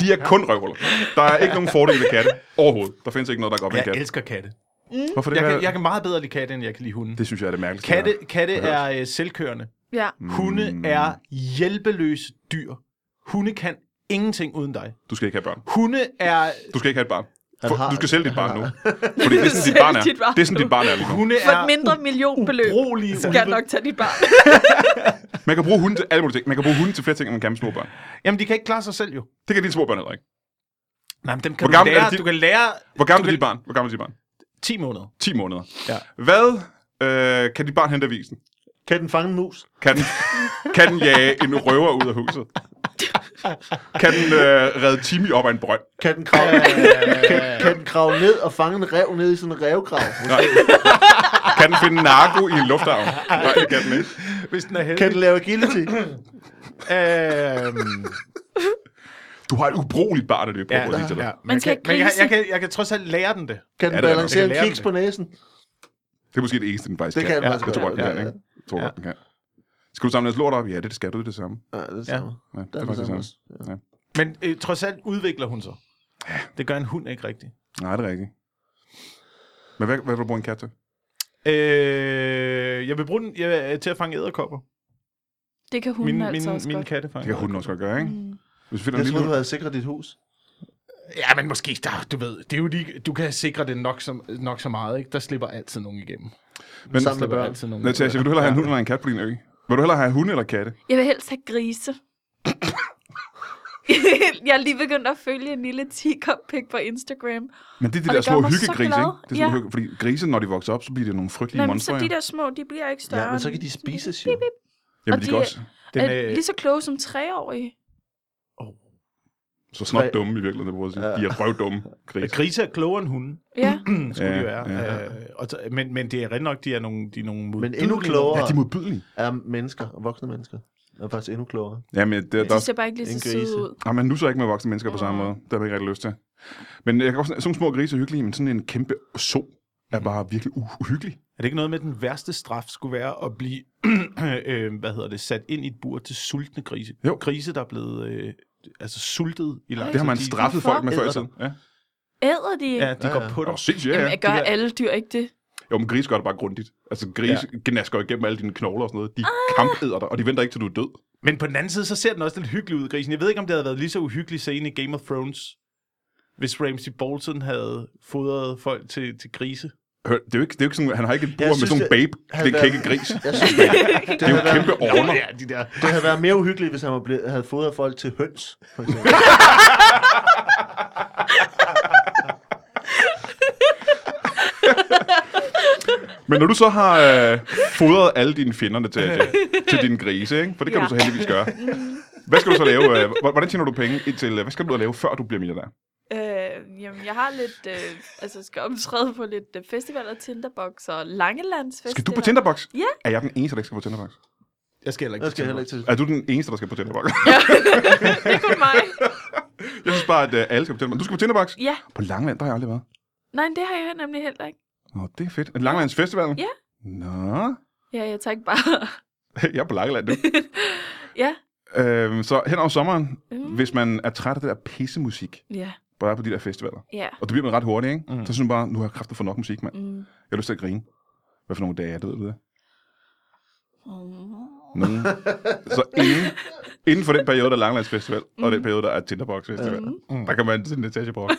Speaker 1: De er kun røvhuller. Der er ikke nogen fordel ved katte overhovedet. Der findes ikke noget, der går op i en
Speaker 3: Jeg
Speaker 1: kat.
Speaker 3: elsker katte.
Speaker 1: Hvorfor det?
Speaker 3: Jeg
Speaker 1: Hvad-
Speaker 3: kan, jeg kan meget bedre lide katte, end jeg kan lide hunde.
Speaker 1: Det synes jeg er det Mm. mærkeligste.
Speaker 3: Katte,
Speaker 1: jeg
Speaker 3: katte
Speaker 1: har hørt.
Speaker 3: er øh, selvkørende.
Speaker 4: ja.
Speaker 3: Hunde er hjælpeløse dyr. Hunde kan ingenting uden dig.
Speaker 1: Du skal ikke have børn.
Speaker 3: Hunde er...
Speaker 1: Du skal ikke have et barn.
Speaker 2: Han
Speaker 1: For,
Speaker 2: har-
Speaker 1: du skal sælge dit
Speaker 2: han
Speaker 1: barn nu.
Speaker 2: har-
Speaker 1: Fordi det er sådan, dit
Speaker 4: Sælg
Speaker 1: barn er.
Speaker 4: dit barn
Speaker 1: Det er sådan, dit barn er lige nu.
Speaker 3: Hunde
Speaker 4: For
Speaker 3: er
Speaker 4: et mindre millionbeløb
Speaker 3: ubrugelige
Speaker 4: skal jeg
Speaker 3: ulve.
Speaker 4: nok tage dit barn.
Speaker 1: Man kan bruge hunde til alle mulige ting. Man kan bruge hunde til flere ting, end man kan med små børn.
Speaker 3: Jamen, de kan ikke klare sig selv jo.
Speaker 1: Det kan dine små børn heller ikke.
Speaker 3: Nej, men dem
Speaker 1: Hvor
Speaker 3: kan du
Speaker 1: gammel er
Speaker 3: lære.
Speaker 1: dit-
Speaker 3: Du kan lære
Speaker 1: Hvor gammel
Speaker 3: Du
Speaker 1: er
Speaker 3: kan-
Speaker 1: dit barn? Hvor gammel er dit barn?
Speaker 3: 10 måneder.
Speaker 1: 10 måneder.
Speaker 3: Ja.
Speaker 1: Hvad øh, kan dit barn hente avisen?
Speaker 2: Kan den fange en mus?
Speaker 1: Kan den, kan den jage en røver ud af huset? Kan den øh, redde Timmy op af en brønd?
Speaker 2: Kan den kravle, kan, kan den kravle ned og fange en rev ned i sådan en revgrav?
Speaker 1: Nej. Kan den finde narko i en lufthavn? Nej, det kan den ikke.
Speaker 3: Hvis den er heldig. Øh,
Speaker 2: Kan den lave agility?
Speaker 3: Øhm,
Speaker 1: Du har et ubrugeligt barn, der løber
Speaker 3: ja,
Speaker 1: ja, på ja, ja.
Speaker 3: ja.
Speaker 4: Man skal
Speaker 3: jeg,
Speaker 4: ikke
Speaker 3: kan, men jeg,
Speaker 4: grise.
Speaker 3: jeg, kan, jeg kan trods alt lære den det.
Speaker 2: Kan
Speaker 1: Ja,
Speaker 2: den
Speaker 1: det er
Speaker 2: balancere
Speaker 3: nok.
Speaker 2: en kiks på næsen?
Speaker 1: Det er måske det eneste, den faktisk
Speaker 2: Det kan den
Speaker 1: ja,
Speaker 2: faktisk
Speaker 1: jeg tror
Speaker 2: godt,
Speaker 1: godt, den
Speaker 2: ja,
Speaker 1: kan,
Speaker 2: ja.
Speaker 1: ikke? Jeg tror godt, den kan. Skal du samle deres lort op? Ja, det skal du det er det samme.
Speaker 2: Ja, det er det
Speaker 3: Ja.
Speaker 2: samme.
Speaker 1: Ja, det
Speaker 2: Det
Speaker 1: er
Speaker 2: er
Speaker 1: faktisk det samme.
Speaker 2: også.
Speaker 3: Men øh, trods alt udvikler hun sig. Det gør en hund ikke rigtigt.
Speaker 1: Nej, det er rigtigt. Men hvad, hvad vil du bruge en kat til?
Speaker 3: Øh, jeg vil bruge den jeg, til at fange æderkopper.
Speaker 4: Det kan hun
Speaker 3: Min,
Speaker 4: altså
Speaker 3: min,
Speaker 4: også
Speaker 3: min
Speaker 4: godt.
Speaker 3: katte
Speaker 1: Det
Speaker 3: fanger.
Speaker 1: kan hunden også godt gøre, ikke? Hvis du finder
Speaker 2: Mm.
Speaker 1: en lille
Speaker 2: Jeg troede, du
Speaker 1: hund.
Speaker 2: havde sikret dit hus.
Speaker 3: Ja, men måske, der, du ved, det er jo lige, du kan sikre det nok så, nok så meget, ikke? Der slipper altid nogen igennem.
Speaker 1: Men
Speaker 2: Sammen med
Speaker 3: slipper
Speaker 2: børn.
Speaker 3: altid nogen
Speaker 1: Natasha, vil du hellere have en hund eller en kat på din ø? Vil du hellere have hunde eller katte?
Speaker 4: Jeg vil helst have grise. jeg er lige begyndt at følge en lille teacup pic på Instagram.
Speaker 1: Men det er de
Speaker 4: Og
Speaker 1: der
Speaker 4: det gør
Speaker 1: små
Speaker 4: mig så
Speaker 1: hyggegrise, ikke? Det er
Speaker 4: glad.
Speaker 1: sådan, ja.
Speaker 4: Ja.
Speaker 1: hygge, fordi grise, når de vokser op, så bliver det nogle frygtelige
Speaker 4: Nej, men
Speaker 1: monstre.
Speaker 4: så de
Speaker 1: ja.
Speaker 4: der små, de bliver ikke større.
Speaker 2: Ja, men så kan de spises jo.
Speaker 1: Jamen,
Speaker 4: og
Speaker 1: de,
Speaker 4: de
Speaker 1: kan
Speaker 4: er-
Speaker 1: også
Speaker 3: Den,
Speaker 4: er
Speaker 3: øh,
Speaker 4: lige så kloge som treårige.
Speaker 1: så snart dumme i virkeligheden, det bruger jeg at sige. De er røvdumme grise.
Speaker 3: Grise er klogere end hunden,
Speaker 4: Ja.
Speaker 3: skulle
Speaker 1: Ja,
Speaker 3: ja, de være.
Speaker 1: ja.
Speaker 3: Ja. Øh, og så, men, men det er rigtig nok, de er nogle, de er nogle
Speaker 2: Men
Speaker 3: modbydelige
Speaker 2: endnu
Speaker 3: nogle-
Speaker 1: Ja,
Speaker 2: klogere
Speaker 1: de er modbydelige.
Speaker 2: er mennesker, voksne mennesker. Er faktisk endnu klogere.
Speaker 1: Jamen, det, der,
Speaker 4: De ser bare ikke lige så
Speaker 2: en
Speaker 4: søde
Speaker 2: grise.
Speaker 4: ud.
Speaker 1: Nej, men nu så ikke med voksne mennesker på samme måde. Det har jeg ikke rigtig lyst til. Men jeg kan også, sådan nogle små grise er hyggelige, men sådan en kæmpe so er bare virkelig uh- uhyggelig.
Speaker 3: Er det ikke noget med, at den værste straf skulle være at blive øh, hvad hedder det, sat ind i et bur til sultne grise?
Speaker 1: Jo.
Speaker 3: Grise, der er blevet øh, altså, sultet i lang
Speaker 1: Det har man
Speaker 3: tid. De-
Speaker 1: straffet folk med før i
Speaker 3: Hvorfor?
Speaker 1: tiden. Ja.
Speaker 4: Æder de ikke?
Speaker 3: Ja, de
Speaker 2: Ja,
Speaker 3: går
Speaker 2: ja.
Speaker 3: på dig.
Speaker 1: Åh, sindssygt, ja,
Speaker 4: Jamen,
Speaker 1: ja.
Speaker 4: jeg gør
Speaker 3: de der-
Speaker 4: alle dyr ikke det.
Speaker 1: Jo, men grise gør det bare grundigt. Altså, grise ja. gnasker igennem alle dine knogler og sådan noget. De kampæder dig, og de venter ikke, til du er død.
Speaker 3: Men på den anden side, så ser den også lidt hyggelig ud, grisen. Jeg ved ikke, om det havde været lige så uhyggelig scene i Game of Thrones, hvis Ramsey Bolton havde fodret folk til, til grise.
Speaker 1: Hør, det er jo ikke, det er jo ikke sådan, han har ikke et bur med
Speaker 2: synes,
Speaker 1: sådan en
Speaker 2: det-
Speaker 1: babe,
Speaker 2: han
Speaker 1: den
Speaker 2: er-
Speaker 1: kække gris.
Speaker 2: Jeg synes, det, det,
Speaker 1: Det er jo
Speaker 2: havde været,
Speaker 1: kæmpe orner.
Speaker 3: Ja, de der.
Speaker 2: det havde været mere uhyggeligt, hvis han var blevet, havde fodret folk til høns. For eksempel.
Speaker 1: Men når du så har øh, fodret alle dine fjender til, til, til dine grise, ikke? for det kan
Speaker 4: Ja.
Speaker 1: du så heldigvis gøre. Hvad skal du så lave? Øh, h- hvordan tjener du penge indtil, øh, hvad skal du ud og lave, før du bliver millionær?
Speaker 4: Øh, jamen, jeg har lidt, øh, altså skal optræde på lidt øh, festivaler, Tinderbox og Langelandsfestival.
Speaker 1: Skal du på Tinderbox?
Speaker 4: Ja.
Speaker 1: Er jeg den eneste, der ikke skal på Tinderbox?
Speaker 3: Jeg skal heller ikke
Speaker 2: Jeg skal
Speaker 3: til
Speaker 2: heller ikke til.
Speaker 1: Er du den eneste, der skal på Tinderbox?
Speaker 4: Det er kun mig.
Speaker 1: jeg synes bare, at øh, alle skal på Tinderbox. Du skal på Tinderbox?
Speaker 4: Ja,
Speaker 1: På Langland, der har jeg aldrig været.
Speaker 4: nej, det har jeg nemlig heller ikke.
Speaker 1: Nå, det er fedt. Er det Langlands Festival?
Speaker 4: Ja.
Speaker 1: Nå,
Speaker 4: Ja, jeg tager ikke bare.
Speaker 1: jeg er på Langeland nu.
Speaker 4: Ja.
Speaker 1: Øhm, så hen over sommeren,
Speaker 4: Mm.
Speaker 1: hvis man er træt af det der pissemusik,
Speaker 4: Ja,
Speaker 1: bare på de der festivaler,
Speaker 4: ja.
Speaker 1: og det bliver man ret hurtigt, ikke?
Speaker 3: Mm.
Speaker 1: Mm. Så synes man bare, nu har jeg kraftet for nok musik, mand.
Speaker 4: Mm.
Speaker 1: Jeg har lyst til at grine. Hvad for nogle dage er det, ved du det?
Speaker 4: Mm.
Speaker 1: Nogen. så inden, inden for den periode, der er Langlands Festival, mm.
Speaker 2: Mhm.
Speaker 1: og den periode, der er Tinderbox Festival, mm. der kan man til Natasha Brock.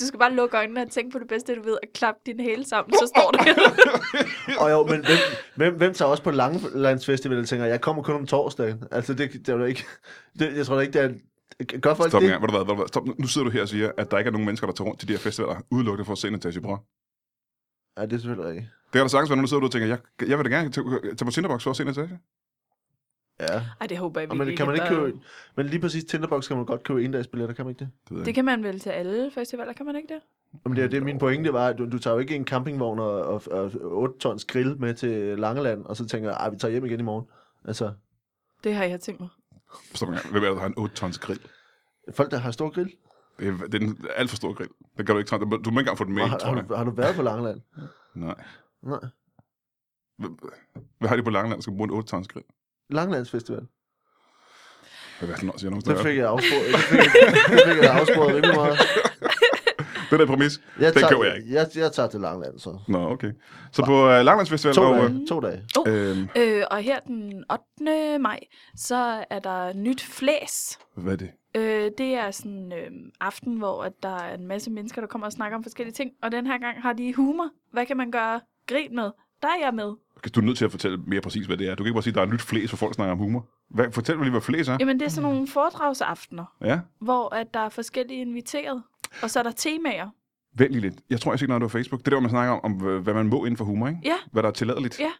Speaker 4: Du skal bare lukke øjnene og tænke på det bedste, du ved, og klappe din hæle sammen, så står det.
Speaker 2: Og jo, men hvem, hvem, hvem tager også på Langelandsfestival og tænker, jeg kommer kun om torsdagen? Altså, det, det er jo ikke... Det, jeg tror da ikke, det er... Gør folk
Speaker 1: Stop en
Speaker 2: det?
Speaker 1: gang. Ved du hvad, ved du hvad, stop. Nu sidder du her og siger, at der ikke er nogen mennesker, der tager rundt til de her festivaler, udelukkende for at se Natasha Brock.
Speaker 2: Ja, det er selvfølgelig rigtigt.
Speaker 1: Det kan da sagtens være, når du sidder derude og tænker, jeg, jeg vil da gerne tage, tage på Tinderbox for at se Natasha.
Speaker 2: Ja.
Speaker 4: Ej, det håber jeg
Speaker 2: Og
Speaker 4: virkelig
Speaker 2: men, kan man ikke
Speaker 4: der-
Speaker 2: købe... Men lige præcis Tinderbox kan man godt købe endagsbilletter, kan man ikke det?
Speaker 1: Det ved jeg
Speaker 4: Det
Speaker 1: ikke.
Speaker 4: kan man vel til alle festivaler, kan man ikke det?
Speaker 2: Jamen, det er det, min
Speaker 1: Mm.
Speaker 2: pointe var, at du, du tager jo ikke en campingvogn og, og, og 8 tons grill med til Langeland, og så tænker jeg, "Ej, vi tager hjem igen i morgen. Altså,
Speaker 4: Det har jeg tænkt mig.
Speaker 1: Stop en gang. Hvem er det, der har en 8-tons grill?
Speaker 2: folk, der har stor grill,
Speaker 1: Det er, det er en alt for stor grill. Det kan du ikke træne. Du må ikke engang få den med,
Speaker 2: har,
Speaker 1: ind, tror
Speaker 2: har,
Speaker 1: jeg.
Speaker 2: du, har du været på Langeland?
Speaker 1: Nej.
Speaker 2: Nej.
Speaker 1: Hvad har de på Langeland, der skal bruge en 8-tons grill?
Speaker 2: Langelandsfestival.
Speaker 1: Hvad er det, når siger nogen
Speaker 2: Der
Speaker 1: steder?
Speaker 2: fik jeg afsporet, der fik, jeg- der fik jeg afsporet rimelig meget.
Speaker 1: Det der præmis,
Speaker 2: Jeg
Speaker 1: den
Speaker 2: tager,
Speaker 1: køber jeg ikke.
Speaker 2: Jeg, jeg tager til Langeland, så.
Speaker 1: Nå, okay. Så på øh, Langelandsfestival...
Speaker 2: To
Speaker 1: og, øh,
Speaker 2: dage. To dage.
Speaker 1: øh,
Speaker 4: Øh, og her den 8. maj, så er der nyt flæs.
Speaker 1: hvad er det?
Speaker 4: Øh, det er sådan øh, aften, hvor at der er en masse mennesker, der kommer og snakker om forskellige ting. Og den her gang har de humor. Hvad kan man gøre grin med? Der er jeg med.
Speaker 5: Du er nødt til at fortælle mere præcis, hvad det er. Du kan ikke bare sige, at der er nyt flæs, hvor folk snakker om humor. Hvad, fortæl mig lige, hvad flæs er.
Speaker 4: Jamen, det er sådan nogle foredragsaftener,
Speaker 5: Ja,
Speaker 4: hvor at der er forskellige inviteret. Og så er der temaer.
Speaker 5: vent lige lidt. Jeg tror, jeg har set noget af det på Facebook. Det er der, hvor man snakker om, om, øh, hvad man må inden for humor, ikke?
Speaker 4: Ja.
Speaker 5: Hvad der er tilladeligt.
Speaker 4: Ja.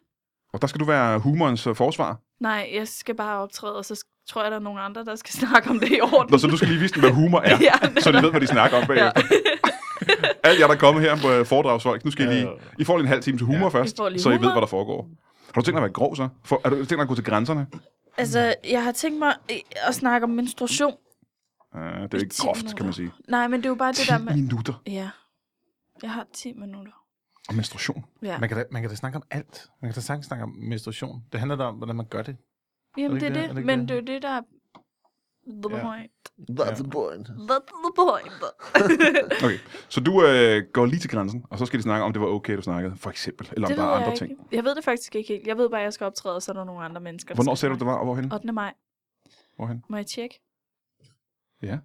Speaker 5: Og der skal du være humorens øh, forsvar.
Speaker 4: Nej, jeg skal bare optræde, og så sk- tror jeg, der er nogle andre, der skal snakke om det i orden.
Speaker 5: Nå, så du skal lige vise dem, hvad humor er.
Speaker 4: Ja,
Speaker 5: så de ved, hvad de snakker om bagefter. Alt jer, der er kommet her på øh, foredragsfolk, nu skal I lige... I får lige en halv time til humor ja. først,
Speaker 4: I får lige
Speaker 5: så I ved,
Speaker 4: humor.
Speaker 5: hvad der foregår. Har du tænkt dig at være grov, så? For, har du tænkt dig at gå til grænserne? Øh,
Speaker 4: Altså, jeg har tænkt mig øh, at snakke om menstruation.
Speaker 5: Uh, det er ikke
Speaker 4: ti
Speaker 5: groft, kan man
Speaker 4: minutter.
Speaker 5: sige.
Speaker 4: Nej, men det er jo bare det
Speaker 5: 10
Speaker 4: der med...
Speaker 5: minutter
Speaker 4: Ja. Jeg har 10 minutter.
Speaker 5: om menstruation.
Speaker 4: Ja.
Speaker 3: Man kan, da, man kan da snakke om alt. Man kan da sagtens snakke om menstruation. Det handler da om, hvordan man gør det.
Speaker 4: Jamen, det
Speaker 3: ikke
Speaker 4: er
Speaker 3: det? Er
Speaker 4: det,
Speaker 3: det ikke
Speaker 4: men
Speaker 3: det?
Speaker 4: det er jo det, der er... The
Speaker 3: Ja.
Speaker 4: point.
Speaker 2: That's the point.
Speaker 4: That's the point.
Speaker 5: Okay, så du øh, går lige til grænsen, og så skal de snakke om, det var okay, du snakkede, for eksempel. Eller om
Speaker 4: det
Speaker 5: der
Speaker 4: ved
Speaker 5: er andre
Speaker 4: jeg
Speaker 5: ting.
Speaker 4: ikke. Jeg ved det faktisk ikke helt. Jeg ved bare, at jeg skal optræde, og så er der nogle andre mennesker. der
Speaker 5: Hvornår
Speaker 4: skal
Speaker 5: sagde du, det
Speaker 4: snakke.
Speaker 5: var, og hvorhen?
Speaker 4: 8. maj.
Speaker 5: hvorhen?
Speaker 4: Må jeg tjekke?
Speaker 5: Ja.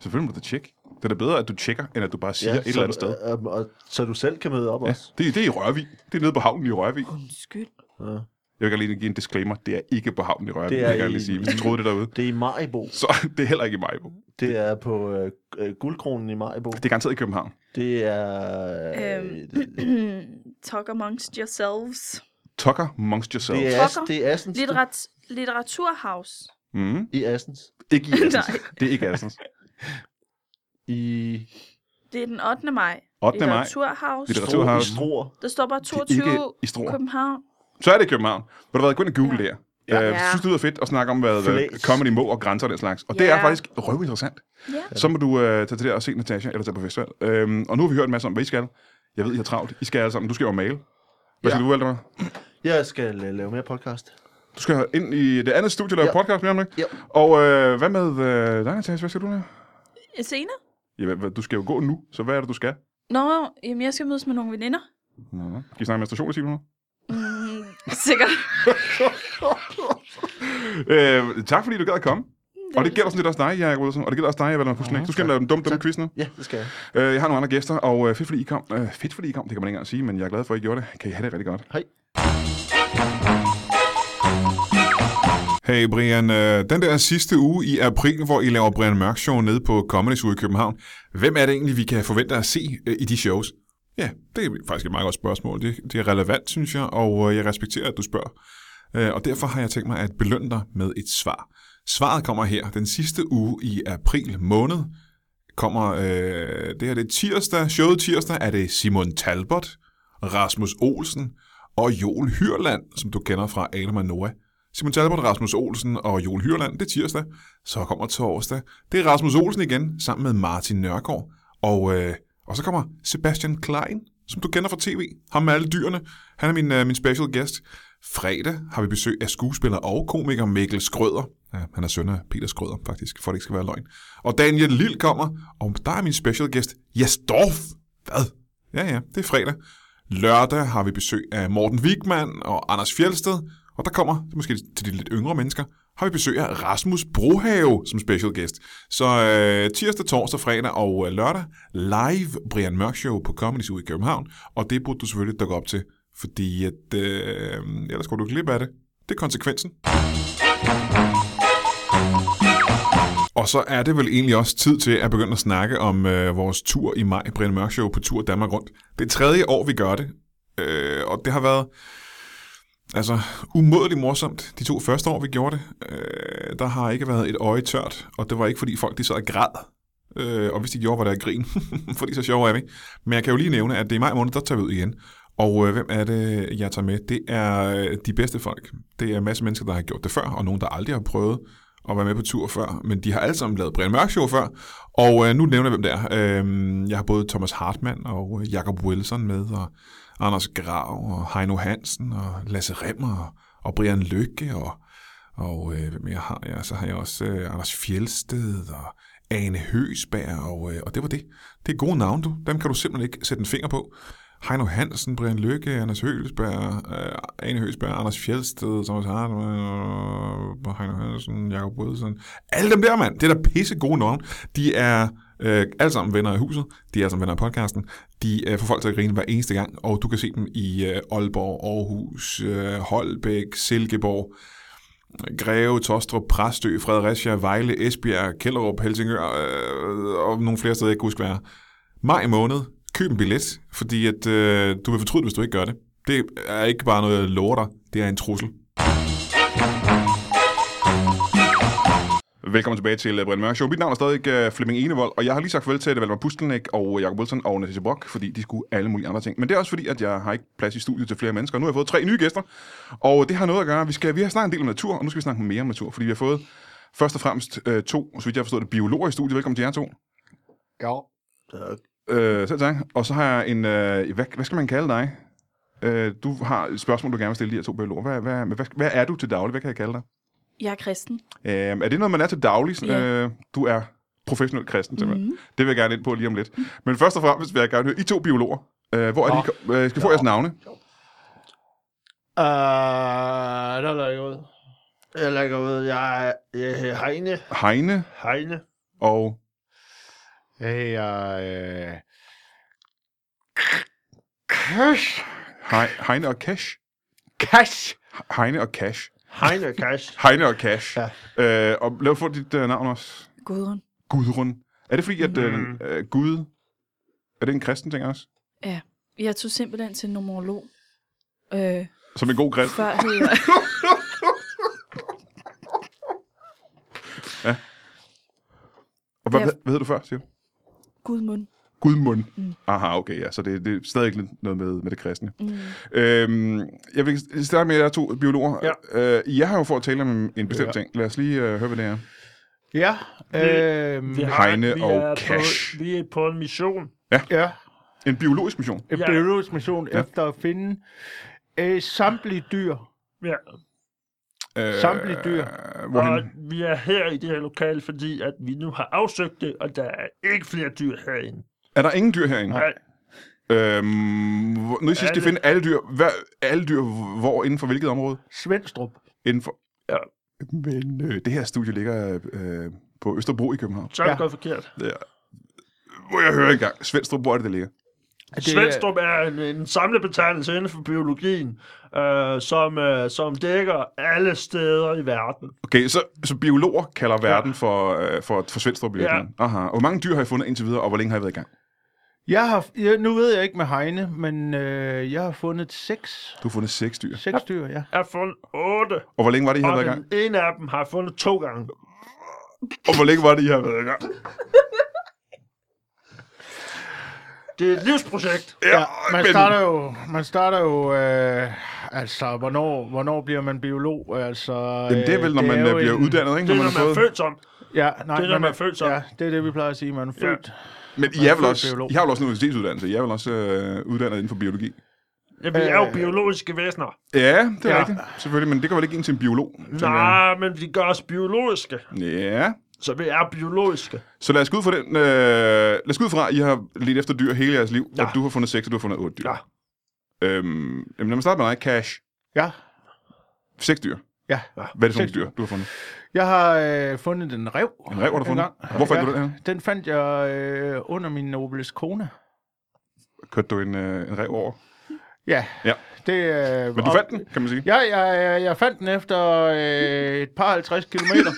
Speaker 5: Selvfølgelig må du tjekke. Det er da bedre, at du tjekker, end at du bare siger ja, et
Speaker 2: så,
Speaker 5: eller andet sted.
Speaker 2: øh, og, så du selv kan møde op
Speaker 5: Ja,
Speaker 2: også.
Speaker 5: det, er- det er i Rørvig. Det er nede på havnen i Rørvig.
Speaker 4: Undskyld.
Speaker 2: Ja.
Speaker 5: Jeg vil gerne lige give en disclaimer. Det er ikke på havnen i Rørvig,
Speaker 2: Det
Speaker 5: det
Speaker 2: er
Speaker 5: er jeg gerne
Speaker 2: i-
Speaker 5: lige sige. Hvis du troede det derude.
Speaker 2: Det er i Majbo.
Speaker 5: Så det er heller ikke i Majbo.
Speaker 2: Det er på øh, øh, Guldkronen i Majbo.
Speaker 5: Det er garanteret i København.
Speaker 2: Det er... Øh,
Speaker 4: Øhm. Talk amongst yourselves.
Speaker 5: Tucker amongst yourself.
Speaker 2: det,
Speaker 5: Yeah.
Speaker 2: er, As,
Speaker 4: Pokker.
Speaker 2: det er Assens.
Speaker 4: Litterat- Litteraturhouse.
Speaker 5: Mm.
Speaker 2: I Assens.
Speaker 5: Ikke i Assens.
Speaker 4: Nej.
Speaker 5: Det er ikke Assens.
Speaker 2: I,
Speaker 4: Det er den 8. maj.
Speaker 5: 8. maj.
Speaker 4: Litteraturhouse.
Speaker 5: Litteratur-
Speaker 2: Struer, i
Speaker 5: Litteraturhavn.
Speaker 2: Struer.
Speaker 4: Der står bare
Speaker 5: Det er
Speaker 4: 22
Speaker 5: ikke i Struer.
Speaker 4: København.
Speaker 5: Så er det i København. Vil du være gå ind og google
Speaker 4: Ja.
Speaker 5: det her? Ja. Øh,
Speaker 4: Ja.
Speaker 5: synes, det lyder fedt at snakke om, hvad hvad
Speaker 2: Flæs.
Speaker 5: comedy må og grænser og den slags. Og det er
Speaker 4: Ja.
Speaker 5: faktisk røvinteressant.
Speaker 4: Ja.
Speaker 5: Så må du øh, tage til det og se Natasha, eller tage på festival. Øhm, og nu har vi hørt en masse om, hvad I skal. Jeg ved, I har travlt. I skal alle sammen. Du skal jo male. Hvad skal
Speaker 3: Ja.
Speaker 5: du vælge dig?
Speaker 2: Jeg skal uh, lave mere podcast.
Speaker 5: Du skal ind i det andet studie og lave
Speaker 2: Ja.
Speaker 5: podcast mere om det.
Speaker 2: Ja.
Speaker 5: Og øh, hvad med øh, dig, Natasha? Hvad skal du lave?
Speaker 4: Senere?
Speaker 5: Ja, hvad- hvad- du skal jo gå nu, så hvad er det, du skal?
Speaker 4: Nå, jamen jeg skal mødes med nogle veninder.
Speaker 5: Nå. Kan I snakke menstruation i 10 minutter?
Speaker 4: Mm, sikkert.
Speaker 5: Øh, tak fordi du gad at komme. og det gælder sådan lidt også dig, Jacob Olsen, og det gælder også dig, jeg Valder Pusten. Du skal lave den dumme, dumme quiz nu.
Speaker 2: Ja, det skal jeg.
Speaker 5: Øh, jeg har nogle andre gæster, og øh, fedt fordi I kom. Øh, fedt fordi I kom, det kan man ikke engang sige, men jeg er glad for, at I gjorde det. Kan I have det rigtig godt.
Speaker 2: Hej.
Speaker 1: Hey Brian, øh, den der sidste uge i april, hvor I laver Brian Mørk Show nede på Comedy Zoo i København, hvem er det egentlig, vi kan forvente at se øh, i de shows? Ja, det er faktisk et meget godt spørgsmål. Det, det er relevant, synes jeg, og øh, jeg respekterer, at du spørger. Øh, og derfor har jeg tænkt mig at belønne dig med et svar. Svaret kommer her. Den sidste uge i april måned kommer, øh, det her det er tirsdag, showet tirsdag, er det Simon Talbot, Rasmus Olsen og Joel Hyrland, som du kender fra Adam og Noah. Simon Talbot, Rasmus Olsen og Joel Hyrland, det er tirsdag. Så kommer torsdag. Det er Rasmus Olsen igen, sammen med Martin Nørgaard. Og, øh, og så kommer Sebastian Klein, som du kender fra tv. Ham med alle dyrene. Han er min, øh, min special guest. Fredag har vi besøg af skuespiller og komiker Mikkel Skrøder. Ja, han er søn af Peter Skrøder, faktisk, for at det ikke skal være løgn. Og Daniel Lille kommer, og der er min special guest, Jes Dorf. Hvad? Ja, ja, det er fredag. Lørdag har vi besøg af Morten Wigman og Anders Fjelsted, og der kommer, måske til de lidt yngre mennesker, har vi besøg af Rasmus Brohave som special guest. Så øh, tirsdag, torsdag, fredag og øh, lørdag, live Brian Mørk Show på Comedy Zoo i København, og det burde du selvfølgelig dukke op til, fordi at, øh, ellers går du glip af det. Det er konsekvensen. Og så er det vel egentlig også tid til at begynde at snakke om øh, vores tur i maj, Brian Mørk Show, på tur Danmark rundt. Det er tredje år, vi gør det, øh, og det har været altså umådeligt morsomt. De to første år, vi gjorde det, øh, der har ikke været et øje tørt, og det var ikke, fordi folk de sad og græd. Øh, og hvis de gjorde, var der grin, fordi så sjov er vi. Men jeg kan jo lige nævne, at det er i maj måned, der tager vi ud igen. Og øh, hvem er det, jeg tager med? Det er øh, de bedste folk. Det er en masse mennesker, der har gjort det før, og nogen, der aldrig har prøvet at være med på tur før. Men de har alle sammen lavet Brian Mørk Show før. Og øh, nu nævner jeg, hvem det er. Øh, jeg har både Thomas Hartmann og øh, Jacob Wilson med, og Anders Grav, og Heino Hansen, og Lasse Remmer, og, og Brian Lykke, og, og øh, hvem jeg har jeg? Så har jeg også øh, Anders Fjelsted, og Ane Høsberg, og, øh, og det var det. Det er gode navne, du. Dem kan du simpelthen ikke sætte en finger på.
Speaker 6: Heino Hansen, Brian Lykke, Anders Høgsberg, øh, Ane Høgsberg, Anders Fjeldsted, Thomas Hartmann, øh, Heino Hansen, Jakob Rødelsen. Alle dem der, mand. Det er da pisse gode navne. De er øh, alle sammen venner af huset. De er alle sammen venner af podcasten. De øh, får folk til at grine hver eneste gang, og du kan se dem i øh, Aalborg, Aarhus, øh, Holbæk, Silkeborg. Greve, Tostrup, Præstø, Fredericia, Vejle, Esbjerg, Kellerup, Helsingør øh, og nogle flere steder, jeg ikke kan huske, hvad er. Maj måned, køb en billet, fordi at, øh, du vil fortryde, hvis du ikke gør det. Det er ikke bare noget, jeg lover dig. Det er en trussel.
Speaker 1: Velkommen tilbage til øh, Brian Mørk Show. Mit navn er stadig øh, Flemming Enevold, og jeg har lige sagt farvel til Valmar Pustelnik og Jakob Wilson og Natasha Brock, fordi de skulle alle mulige andre ting. Men det er også fordi, at jeg har ikke plads i studiet til flere mennesker. Nu har jeg fået tre nye gæster, og det har noget at gøre. Vi, skal, vi har snakket en del om natur, og nu skal vi snakke mere om natur, fordi vi har fået først og fremmest øh, to, så vidt jeg har forstået det, biologer i studiet. Velkommen til jer to.
Speaker 3: Ja.
Speaker 2: Tak.
Speaker 1: Øh, selv tak. Og så har jeg en... Øh, hvad, hvad skal man kalde dig? Øh, du har et spørgsmål, du gerne vil stille de her to biologer. Hvad, hvad, hvad, hvad er du til daglig? Hvad kan jeg kalde dig?
Speaker 4: Jeg er kristen.
Speaker 1: Øh, er det noget, man er til daglig?
Speaker 4: Ja. Mm.
Speaker 1: Yeah. Øh, du er professionel kristen, simpelthen. Mm-hmm. Det vil jeg gerne ind på lige om lidt. Men først og fremmest vil jeg gerne høre, I to biologer, øh, hvor er
Speaker 3: Nå.
Speaker 1: de, kom- øh, skal vi få jeres navne?
Speaker 7: Øh,
Speaker 3: Uh, der er ikke ud.
Speaker 2: Jeg lægger ud. Jeg er jeg, Heine.
Speaker 1: Heine
Speaker 2: Heine.
Speaker 1: og...
Speaker 2: Øh,
Speaker 3: Hey, uh, Cash.
Speaker 1: Hei- Heine og Cash?
Speaker 3: Cash.
Speaker 1: Heine og Cash.
Speaker 2: Heine Cash.
Speaker 1: Heine og Cash. Ja. Øh, og lad os få dit øh, navn også.
Speaker 4: Gudrun.
Speaker 1: Gudrun. Er det fordi, at øh, øh, Gud... Er det en kristen ting også?
Speaker 4: Jeg tog simpelthen til nomolog. Øh,
Speaker 1: Som en god kristen?
Speaker 4: før hed jeg...
Speaker 1: Og hvad,
Speaker 4: Ja.
Speaker 1: hvad, hvad hedder du før, siger du?
Speaker 4: Gudmund.
Speaker 1: Gudmund. Mm. Aha, okay, ja. Så det, det er stadig ikke noget med, med det kristne.
Speaker 4: Mm.
Speaker 1: Øhm, jeg vil starte med jer to biologer. Ja. Øh, jeg har jo for at tale om en bestemt ja.
Speaker 3: Ja.
Speaker 1: ting. Lad os lige øh, høre, hvad det er.
Speaker 3: Ja. Øh,
Speaker 7: Vi har,
Speaker 1: Heine
Speaker 7: vi
Speaker 1: og
Speaker 7: er
Speaker 1: Cash.
Speaker 7: På, vi er på en mission.
Speaker 3: ja.
Speaker 1: En biologisk mission.
Speaker 3: En
Speaker 7: Ja.
Speaker 3: biologisk mission
Speaker 1: Ja.
Speaker 3: ja. efter at finde øh, samtlige dyr.
Speaker 7: Ja.
Speaker 1: Øh,
Speaker 3: Samtlige dyr.
Speaker 1: Hvorhen?
Speaker 7: Og vi er her i det her lokale, fordi at vi nu har afsøgt det, og der er ikke flere dyr herinde.
Speaker 1: Er der ingen dyr herinde?
Speaker 7: Nej.
Speaker 1: Øhm, hvor- nu I sidst, de
Speaker 7: Alle-
Speaker 1: finde alle dyr. Hvad, alle dyr, hvor? Inden for hvilket område?
Speaker 3: Svendstrup.
Speaker 1: Inden for...
Speaker 7: Ja.
Speaker 1: Men øh, det her studie ligger øh, på Østerbro i København.
Speaker 7: Så er det
Speaker 3: Ja.
Speaker 7: gået forkert.
Speaker 1: Ja. Må jeg høre engang. Svendstrup, hvor er det, det ligger?
Speaker 3: Det,
Speaker 7: Svendstrup er en, en samlebetegnelse inden for biologien, øh, som, øh, som dækker alle steder i verden.
Speaker 1: Okay, så, så biologer kalder verden ja. for, øh, for, for Svendstrup i
Speaker 7: Ja.
Speaker 1: virkeligheden. Aha. Hvor mange dyr har I fundet indtil videre, og hvor længe har I været i gang?
Speaker 3: Jeg har, jeg, nu ved jeg ikke med Heine, men øh, jeg har fundet seks,
Speaker 1: Du har fundet seks dyr.
Speaker 3: seks dyr, ja.
Speaker 7: Jeg har fundet otte,
Speaker 1: Og hvor længe var det, I har
Speaker 7: og
Speaker 1: været i gang?
Speaker 7: den ene af dem har jeg fundet to gange.
Speaker 1: Og hvor længe var det, I har været i gang?
Speaker 7: Det er et livsprojekt.
Speaker 1: Ja,
Speaker 3: Man
Speaker 1: men-
Speaker 3: starter jo, man starter jo øh, altså, hvornår, hvornår bliver man biolog? Altså,
Speaker 1: Jamen, det er vel, når
Speaker 3: øh,
Speaker 1: man øh,
Speaker 3: er jo
Speaker 1: bliver
Speaker 3: en-
Speaker 1: uddannet, ikke?
Speaker 7: Det
Speaker 1: Når man
Speaker 7: er, når man
Speaker 1: har
Speaker 7: er
Speaker 1: fået...
Speaker 7: født som.
Speaker 3: Ja, nej,
Speaker 7: Det er, når man er født som.
Speaker 3: Ja, det er det, vi plejer at sige, man er
Speaker 7: Ja.
Speaker 3: født.
Speaker 1: Men I, er vel
Speaker 3: født
Speaker 1: også,
Speaker 3: biolog.
Speaker 1: I har vel også en universitetsuddannelse. I er vel også øh, uddannet inden for biologi.
Speaker 7: Ja, vi er jo
Speaker 3: Øh.
Speaker 7: biologiske væsener.
Speaker 1: Ja, det er ja.
Speaker 3: Ja.
Speaker 1: rigtigt. Selvfølgelig, men det går vel ikke ind til en biolog? tænker jeg.
Speaker 7: Nej, men vi gør os biologiske.
Speaker 1: Ja.
Speaker 7: Så vi er biologiske.
Speaker 1: Så lad os gå ud fra den... Øh, lad os gå ud fra, at I har let efter dyr hele jeres liv, ja.
Speaker 7: Ja.
Speaker 1: og du har fundet seks, og du har fundet otte dyr.
Speaker 7: Ja.
Speaker 1: Øhm, jamen, lad mig starte med dig. Cash.
Speaker 3: Ja,
Speaker 1: Seks dyr.
Speaker 3: ja.
Speaker 1: Hvad er det for nogle
Speaker 3: Seks dyr.
Speaker 1: dyr, du har fundet?
Speaker 3: Jeg har øh, fundet en rev.
Speaker 1: En rev har du fundet?
Speaker 3: gang.
Speaker 1: Hvor fandt du den her?
Speaker 3: Den fandt jeg øh, under min Nobels kone.
Speaker 1: Kørte du en, øh, en rev over?
Speaker 3: Ja.
Speaker 1: Ja.
Speaker 3: Det, øh,
Speaker 1: Men du
Speaker 3: og-
Speaker 1: fandt den, kan man sige.
Speaker 3: Ja, jeg, jeg, jeg fandt den efter øh, et par 50 kilometer.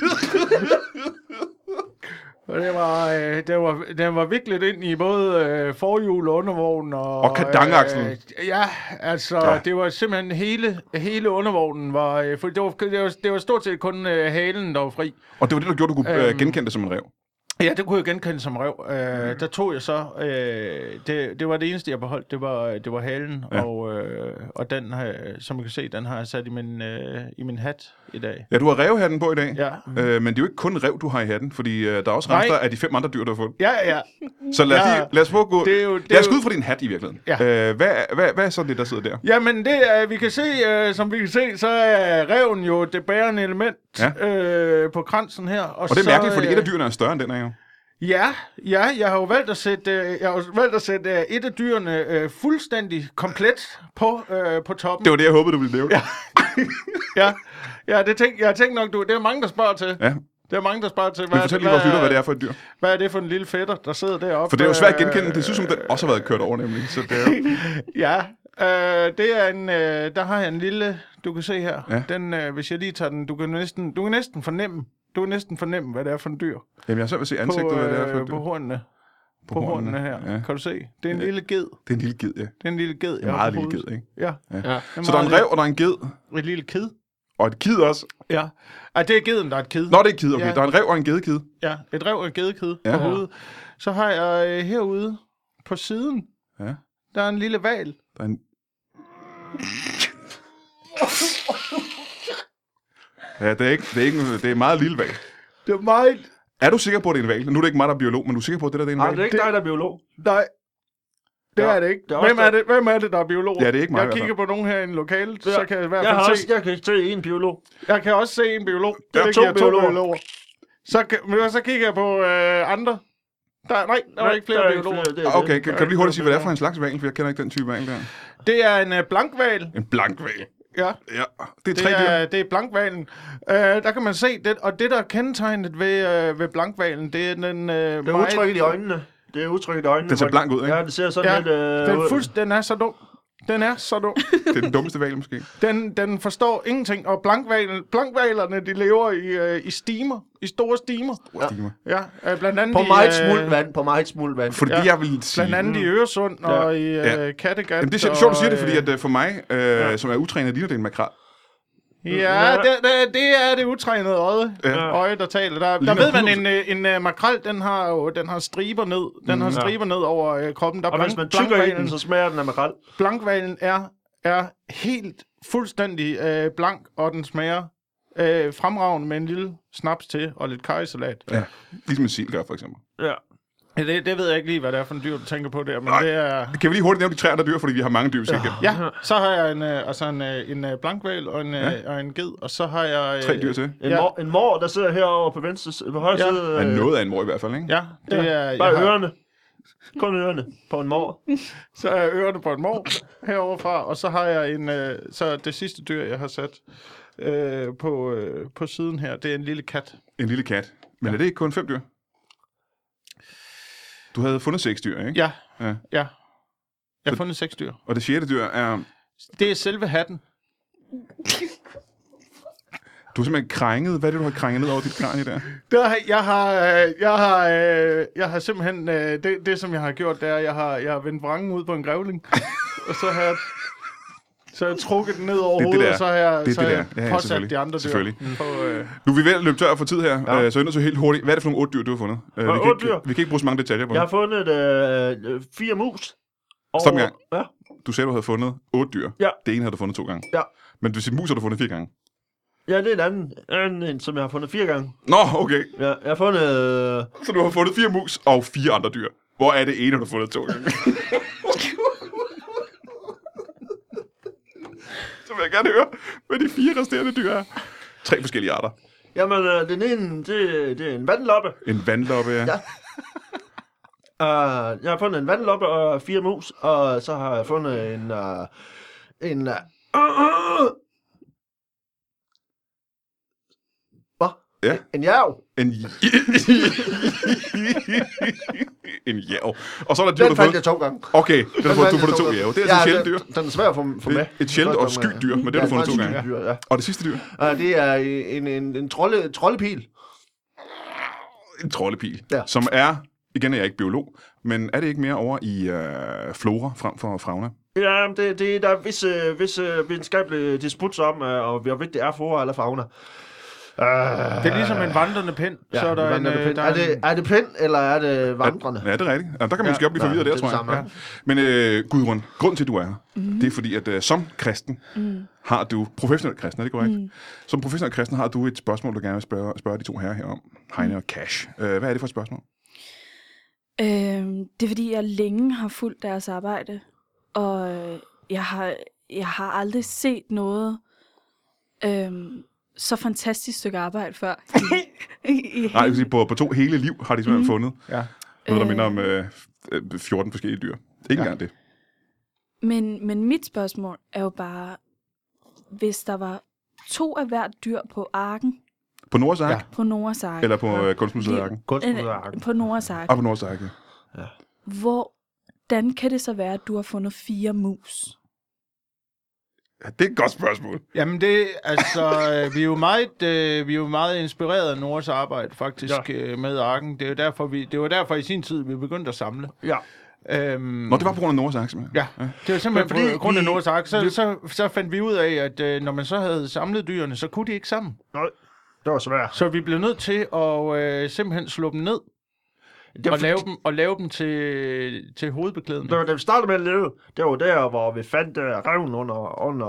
Speaker 3: Og det var, øh, det var, den var viklet ind i både øh, forhjul og undervognen. Og,
Speaker 1: Og kardangakslen.
Speaker 3: Øh, ja, altså,
Speaker 1: Ja.
Speaker 3: ja. det var simpelthen hele, hele undervognen. Var, øh, for det, var, det, var, det var stort set kun øh, halen, der var fri.
Speaker 1: Og det var det, der gjorde, du kunne øh,
Speaker 3: Øhm.
Speaker 1: genkende det som en rev.
Speaker 3: Ja, det kunne jeg genkende som rev. Øh,
Speaker 1: Mm.
Speaker 3: Der tog jeg så... Øh, det, det var det eneste, jeg beholdt. Det var, det var halen.
Speaker 1: Ja.
Speaker 3: Ja. Og, øh, og den, har jeg- som I kan se, den har jeg sat i min, øh, i min hat i dag.
Speaker 1: Ja, du har revhatten på i dag.
Speaker 3: Ja.
Speaker 1: Øh, men det er jo ikke kun rev, du har i hatten, fordi øh, der er også
Speaker 3: Nej.
Speaker 1: rester af de fem andre dyr, du har fundet.
Speaker 3: Ja, ja.
Speaker 1: Så lad os,
Speaker 3: Ja.
Speaker 1: lige, lad os prøve at gå...
Speaker 3: Det er jo- det
Speaker 1: lad os
Speaker 3: er
Speaker 1: gå
Speaker 3: jo-
Speaker 1: ud fra din hat i virkeligheden.
Speaker 3: Ja.
Speaker 1: Øh, hvad, er- hvad, hvad er så det, der sidder der?
Speaker 3: Jamen, det er, vi kan se, øh, som vi kan se, så er reven jo det bærende element
Speaker 1: Ja.
Speaker 3: ja. øh, på kransen her.
Speaker 1: Og det er
Speaker 3: så,
Speaker 1: mærkeligt, fordi
Speaker 3: øh,
Speaker 1: et af dyrene er større end den her jo.
Speaker 3: Ja, ja, jeg har jo valgt at sætte, øh, jeg har jo valgt at sætte øh, et af dyrene øh, fuldstændig komplet på, øh, på toppen.
Speaker 1: Det var det, jeg håbede, du ville leve. Ja.
Speaker 3: Ja, ja det tænk, jeg tænkte nok, du, det er mange, der spørger til.
Speaker 1: ja.
Speaker 3: Det er mange, der spørger til,
Speaker 1: Men
Speaker 3: hvad, er,
Speaker 1: fortæl
Speaker 3: det,
Speaker 1: lige vores lytter, hvad det
Speaker 3: hvad,
Speaker 1: er for et dyr.
Speaker 3: hvad er det for en lille fætter, der sidder deroppe?
Speaker 1: For det er jo svært at genkende. Det synes som den også har været kørt over, nemlig. Så det er jo...
Speaker 3: Ja, øh, det er en, øh, der har jeg en lille, du kan se her.
Speaker 1: Ja.
Speaker 3: Ja. Den, øh, hvis jeg lige tager den, du kan næsten, du kan næsten fornemme, du kan næsten fornemme, hvad det er for en dyr.
Speaker 1: Jamen, jeg har svært ved at se
Speaker 3: På,
Speaker 1: ansigtet, hvad det er for
Speaker 3: øh,
Speaker 1: et
Speaker 3: på
Speaker 1: dyr.
Speaker 3: hornene. På,
Speaker 1: På hornene,
Speaker 3: hornene her.
Speaker 1: ja.
Speaker 3: Ja. Kan du se? Det er en lille ged.
Speaker 1: Det er en lille ged, ja.
Speaker 3: Det er en lille ged.
Speaker 1: En meget lille ged, ikke?
Speaker 3: Ja. ja. ja.
Speaker 1: Så der er en rev, og der er en ged,
Speaker 3: Et lille kid.
Speaker 1: og et kid også.
Speaker 3: Ja. Ej, det er geden, der er et kid.
Speaker 1: Nå, det er et kid, okay.
Speaker 3: Ja.
Speaker 1: Der er en rev og en gedekid.
Speaker 3: Ja, et rev og et gedekid
Speaker 1: Ja.
Speaker 3: ja. på hovedet. Så har jeg øh, herude på siden,
Speaker 1: Ja.
Speaker 3: der er en lille val.
Speaker 1: Der er en... Ja, det er, ikke, det, er ikke, det er meget lille valg.
Speaker 3: Det er meget...
Speaker 1: Er du sikker på, at det er en valg? Nu er det ikke mig, der er biolog, men du er sikker på, at det der det er en
Speaker 7: Nej,
Speaker 1: valg?
Speaker 7: det er ikke dig, der er biolog.
Speaker 3: Nej, det
Speaker 7: Ja,
Speaker 3: er det ikke.
Speaker 7: det er også
Speaker 3: hvem, er
Speaker 7: der-
Speaker 3: det, hvem er det, der er biolog?
Speaker 1: Ja, det er ikke mig i
Speaker 3: Jeg
Speaker 1: hvert
Speaker 3: kigger på nogen her i en lokale, ja.
Speaker 7: Ja.
Speaker 3: så kan jeg i hvert
Speaker 7: Jeg, har
Speaker 3: fald
Speaker 7: også,
Speaker 3: se... Jeg...
Speaker 7: jeg kan ikke se en biolog.
Speaker 3: jeg kan også se en biolog. Det
Speaker 7: Ja,
Speaker 3: er
Speaker 7: to
Speaker 3: to, to
Speaker 7: biologer.
Speaker 3: biologer. Så, kan- men så kigger jeg på øh, andre. Der, nej, der er ikke flere biologer.
Speaker 7: flere, det er
Speaker 1: Ah,
Speaker 7: det.
Speaker 1: Okay, kan, kan du lige hurtigt sige, hvad det er for en slags valg? For jeg kender ikke den type valg der.
Speaker 3: Det er en øh, blankval.
Speaker 1: En blank valg.
Speaker 3: Ja.
Speaker 1: Ja, det er tre
Speaker 3: Det
Speaker 1: dyr.
Speaker 3: er, det er blankvalen. Øh, der kan man se det, og det, der er kendetegnet ved, øh, ved blankvalen, det er den øh,
Speaker 7: Det er udtrykket i øjnene. Det er udtrykket i øjnene.
Speaker 1: Den ser
Speaker 7: hvor-
Speaker 1: blank ud, ikke?
Speaker 7: Ja, det ser sådan
Speaker 3: Ja,
Speaker 7: lidt... Øh,
Speaker 3: den,
Speaker 7: ud.
Speaker 3: fuldst, den er så dum. Den er så dum.
Speaker 1: Det er den dummeste valg, måske.
Speaker 3: Den, den forstår ingenting, og blankvalen, blankvalerne, de lever i, øh, i stimer, i store stimer.
Speaker 1: Stimer.
Speaker 3: Ja, øh, blandt andet
Speaker 2: På
Speaker 3: i,
Speaker 2: meget
Speaker 3: øh,
Speaker 2: smult vand, på meget smult vand.
Speaker 1: Fordi
Speaker 3: Ja.
Speaker 1: det, jeg vil sige...
Speaker 3: Blandt
Speaker 7: Mm.
Speaker 3: andet i Øresund og i øh,
Speaker 1: Ja.
Speaker 3: Kattegat.
Speaker 1: Jamen, det er sjovt, sjovt, du
Speaker 3: og,
Speaker 1: siger det, fordi
Speaker 3: øh,
Speaker 1: at øh, for mig, øh, ja. som er utrænet, ligner det en makrel.
Speaker 3: Ja, det, det, det er det utrænede øje,
Speaker 1: Ja.
Speaker 3: ja. øje der taler. Der, der ved man, en, øh, en, en makrel, den har jo den har striber ned, den har striber ned over øh, kroppen. Der er
Speaker 7: Mm. Og hvis
Speaker 3: blank-
Speaker 7: man tykker i den,
Speaker 3: blankvalen-
Speaker 7: så smager den af makrel.
Speaker 3: Blankvalen er, er helt fuldstændig øh, blank, og den smager øh, fremragende med en lille snaps til og lidt kajsalat.
Speaker 1: Ja. Ligesom en sil gør, for eksempel.
Speaker 7: Ja.
Speaker 3: Ja. Det, det ved jeg ikke lige, hvad det er for en dyr, du tænker på der, men
Speaker 1: Nej.
Speaker 3: Nej. det er...
Speaker 1: Kan vi lige hurtigt nævne de træer, der dyr, fordi vi har mange dyr, vi skal igennem.
Speaker 3: Ja, så har jeg en, øh, altså en, øh, en øh, blankval og en, ja. og en ged, og så har jeg... Øh,
Speaker 1: Tre dyr til.
Speaker 7: En,
Speaker 3: Ja.
Speaker 7: mor, en mor, der sidder herovre på venstre side, på højre
Speaker 3: Ja.
Speaker 7: side.
Speaker 1: Er
Speaker 7: øh,
Speaker 1: noget af en mor i hvert fald, ikke?
Speaker 3: Ja, det ja. er...
Speaker 7: Bare
Speaker 3: jeg har-
Speaker 7: ørerne. Kun ørerne på en mor.
Speaker 3: Så er ørerne på en mor heroverfra, og så har jeg en, øh, så det sidste dyr, jeg har sat øh, på, øh, på siden her, det er en lille kat.
Speaker 1: En lille kat. Men er det ikke kun fem dyr? Du havde fundet seks dyr, ikke?
Speaker 3: Ja,
Speaker 1: Ja.
Speaker 3: ja. ja. Jeg har fundet seks dyr.
Speaker 1: Og det sjette dyr er...
Speaker 3: Det er selve hatten.
Speaker 1: Du har simpelthen krænget. Hvad er det, du har krænget ned over dit kranje der?
Speaker 3: Der, har- jeg har, øh, jeg har, øh, jeg har simpelthen, øh, det, det som jeg har gjort, det er, jeg har, jeg har vendt vrangen ud på en grævling, og så har jeg, så har jeg trukket den ned over
Speaker 1: Det er det,
Speaker 3: hovedet,
Speaker 1: der.
Speaker 3: og så har jeg,
Speaker 1: Det er
Speaker 3: så
Speaker 1: det
Speaker 3: har
Speaker 1: der.
Speaker 3: jeg
Speaker 1: Ja, ja,
Speaker 3: påsat
Speaker 1: selvfølgelig.
Speaker 3: de andre dyr.
Speaker 1: Selvfølgelig.
Speaker 3: På, øh,
Speaker 1: Nu er vi ved at løbe tør for tid her, ja. så undersøg helt hurtigt. Hvad er det for nogle otte dyr, du har fundet? Øh, vi, kan
Speaker 7: otte
Speaker 1: ikke,
Speaker 7: dyr?
Speaker 1: vi kan ikke bruge så mange detaljer på
Speaker 7: Jeg
Speaker 1: det.
Speaker 7: har fundet øh, øh, fire mus. Og,
Speaker 1: Stop en gang.
Speaker 7: Ja,
Speaker 1: Du sagde, du havde fundet otte dyr.
Speaker 7: Ja.
Speaker 1: Det ene havde du fundet to gange.
Speaker 7: Ja.
Speaker 1: Men du siger, mus har du fundet fire gange.
Speaker 7: ja, det er en anden, anden en, som jeg har fundet fire gange.
Speaker 1: Nå, okay.
Speaker 7: Ja, jeg har fundet... Øh,
Speaker 1: Så du har fundet fire mus og fire andre dyr. Hvor er det ene, du har fundet to gange? så vil jeg gerne høre, hvad de fire resterende dyr er. Tre forskellige arter.
Speaker 7: jamen, øh, den ene, det, det er en vandloppe.
Speaker 1: En vandloppe, ja. ja.
Speaker 7: Uh, jeg har fundet en vandloppe og fire mus, og så har jeg fundet en... Uh, en uh,
Speaker 2: Hvad?
Speaker 1: Ja.
Speaker 2: En jærv.
Speaker 1: En, en jæv. Og så er der dyr,
Speaker 2: Den
Speaker 1: du har
Speaker 2: fandt
Speaker 1: fået...
Speaker 2: jeg to gange.
Speaker 1: Okay, den har
Speaker 2: Den
Speaker 1: fået, du
Speaker 2: fandt
Speaker 1: har
Speaker 2: jeg
Speaker 1: fundet to
Speaker 2: gange.
Speaker 1: jæv. Det er altså et sjældent
Speaker 2: den-
Speaker 1: dyr.
Speaker 2: Den er svær at få, få
Speaker 1: Det er
Speaker 2: med.
Speaker 1: et sjældent og
Speaker 2: Godt,
Speaker 7: øh,
Speaker 1: skygt dyr, men det
Speaker 2: ja,
Speaker 1: har du fundet
Speaker 2: et
Speaker 1: to gange.
Speaker 2: skygt dyr, Ja.
Speaker 1: Og det sidste dyr,
Speaker 2: Ja, det er en, en, en trolde, trollepil.
Speaker 1: en troldepil, ja.
Speaker 2: Ja.
Speaker 1: som er, igen er jeg ikke biolog, men er det ikke mere over i øh, flora frem for fauna?
Speaker 7: ja, det, det, der er
Speaker 2: øh,
Speaker 7: visse, visse videnskabelige disputes om, øh, og hvor vigtigt det er flora eller fauna. Uh,
Speaker 3: det er ligesom en vandrende pind, ja, så er der en,
Speaker 2: vandrende
Speaker 3: øh,
Speaker 2: pind.
Speaker 3: der
Speaker 2: er, det,
Speaker 3: en,
Speaker 2: er det pind, eller er det vandrende?
Speaker 1: Ja, det er rigtigt. Ja, der kan man ja, måske op blive
Speaker 2: Nå,
Speaker 1: forvirret der,
Speaker 2: det er det
Speaker 1: tror jeg.
Speaker 2: samme.
Speaker 1: Ja. Men øh, Gudrun, grund til, at du er her, mm. det er fordi, at øh, som kristen mm. har du, professionel kristen, er det korrekt? Mm. Som professionel kristen har du et spørgsmål, du gerne vil spørge, spørge de to herrer her om, Heine og Cash. Øh, hvad er det for et spørgsmål?
Speaker 4: Øhm, det er fordi, jeg længe har fulgt deres arbejde, og øh, jeg har, jeg har aldrig set noget, øhm, så fantastisk stykke arbejde før. I, i, i
Speaker 1: Nej, jeg vil sige, på, på to hele liv har de simpelthen fundet
Speaker 3: Ja.
Speaker 1: noget, der
Speaker 4: Øh.
Speaker 1: minder om Mm. øh, f- øh, 14 forskellige dyr. Ikke engang det.
Speaker 4: Men, men mit spørgsmål er jo bare, hvis der var to af hvert dyr på arken
Speaker 1: På Nords Ark,
Speaker 3: Ja.
Speaker 1: ja.
Speaker 4: på Noras ark.
Speaker 1: eller på øh, Kunstmuseet Arken.
Speaker 7: Kunstmusearken.
Speaker 4: øh, på Noras ark.
Speaker 1: Ah, på Nords Ark, ja.
Speaker 4: Hvordan kan det så være, at du har fundet fire mus?
Speaker 1: ja. Det er et godt spørgsmål.
Speaker 3: Jamen det, altså, øh, vi er jo meget, øh, vi er jo meget inspireret af Nords arbejde faktisk
Speaker 7: Ja.
Speaker 3: ja. med Arken. Det er jo derfor, vi, det var derfor i sin tid, vi begyndte at samle.
Speaker 7: Ja.
Speaker 3: Øhm,
Speaker 1: Nå, det var på grund af Nords Ark, simpelthen.
Speaker 3: Ja, det var simpelthen
Speaker 7: Men fordi
Speaker 3: fordi på grund af
Speaker 7: vi-
Speaker 3: Nords Ark. Så, så, så fandt vi ud af, at øh, når man så havde samlet dyrene, så kunne de ikke sammen.
Speaker 7: Nej, det var svært.
Speaker 3: Så vi blev nødt til at øh, simpelthen slå dem ned
Speaker 7: Det var,
Speaker 3: og lave dem, og lave dem til, til hovedbeklædning.
Speaker 7: det var, da vi startede med at leve, det var der, hvor vi fandt uh, revnen under, under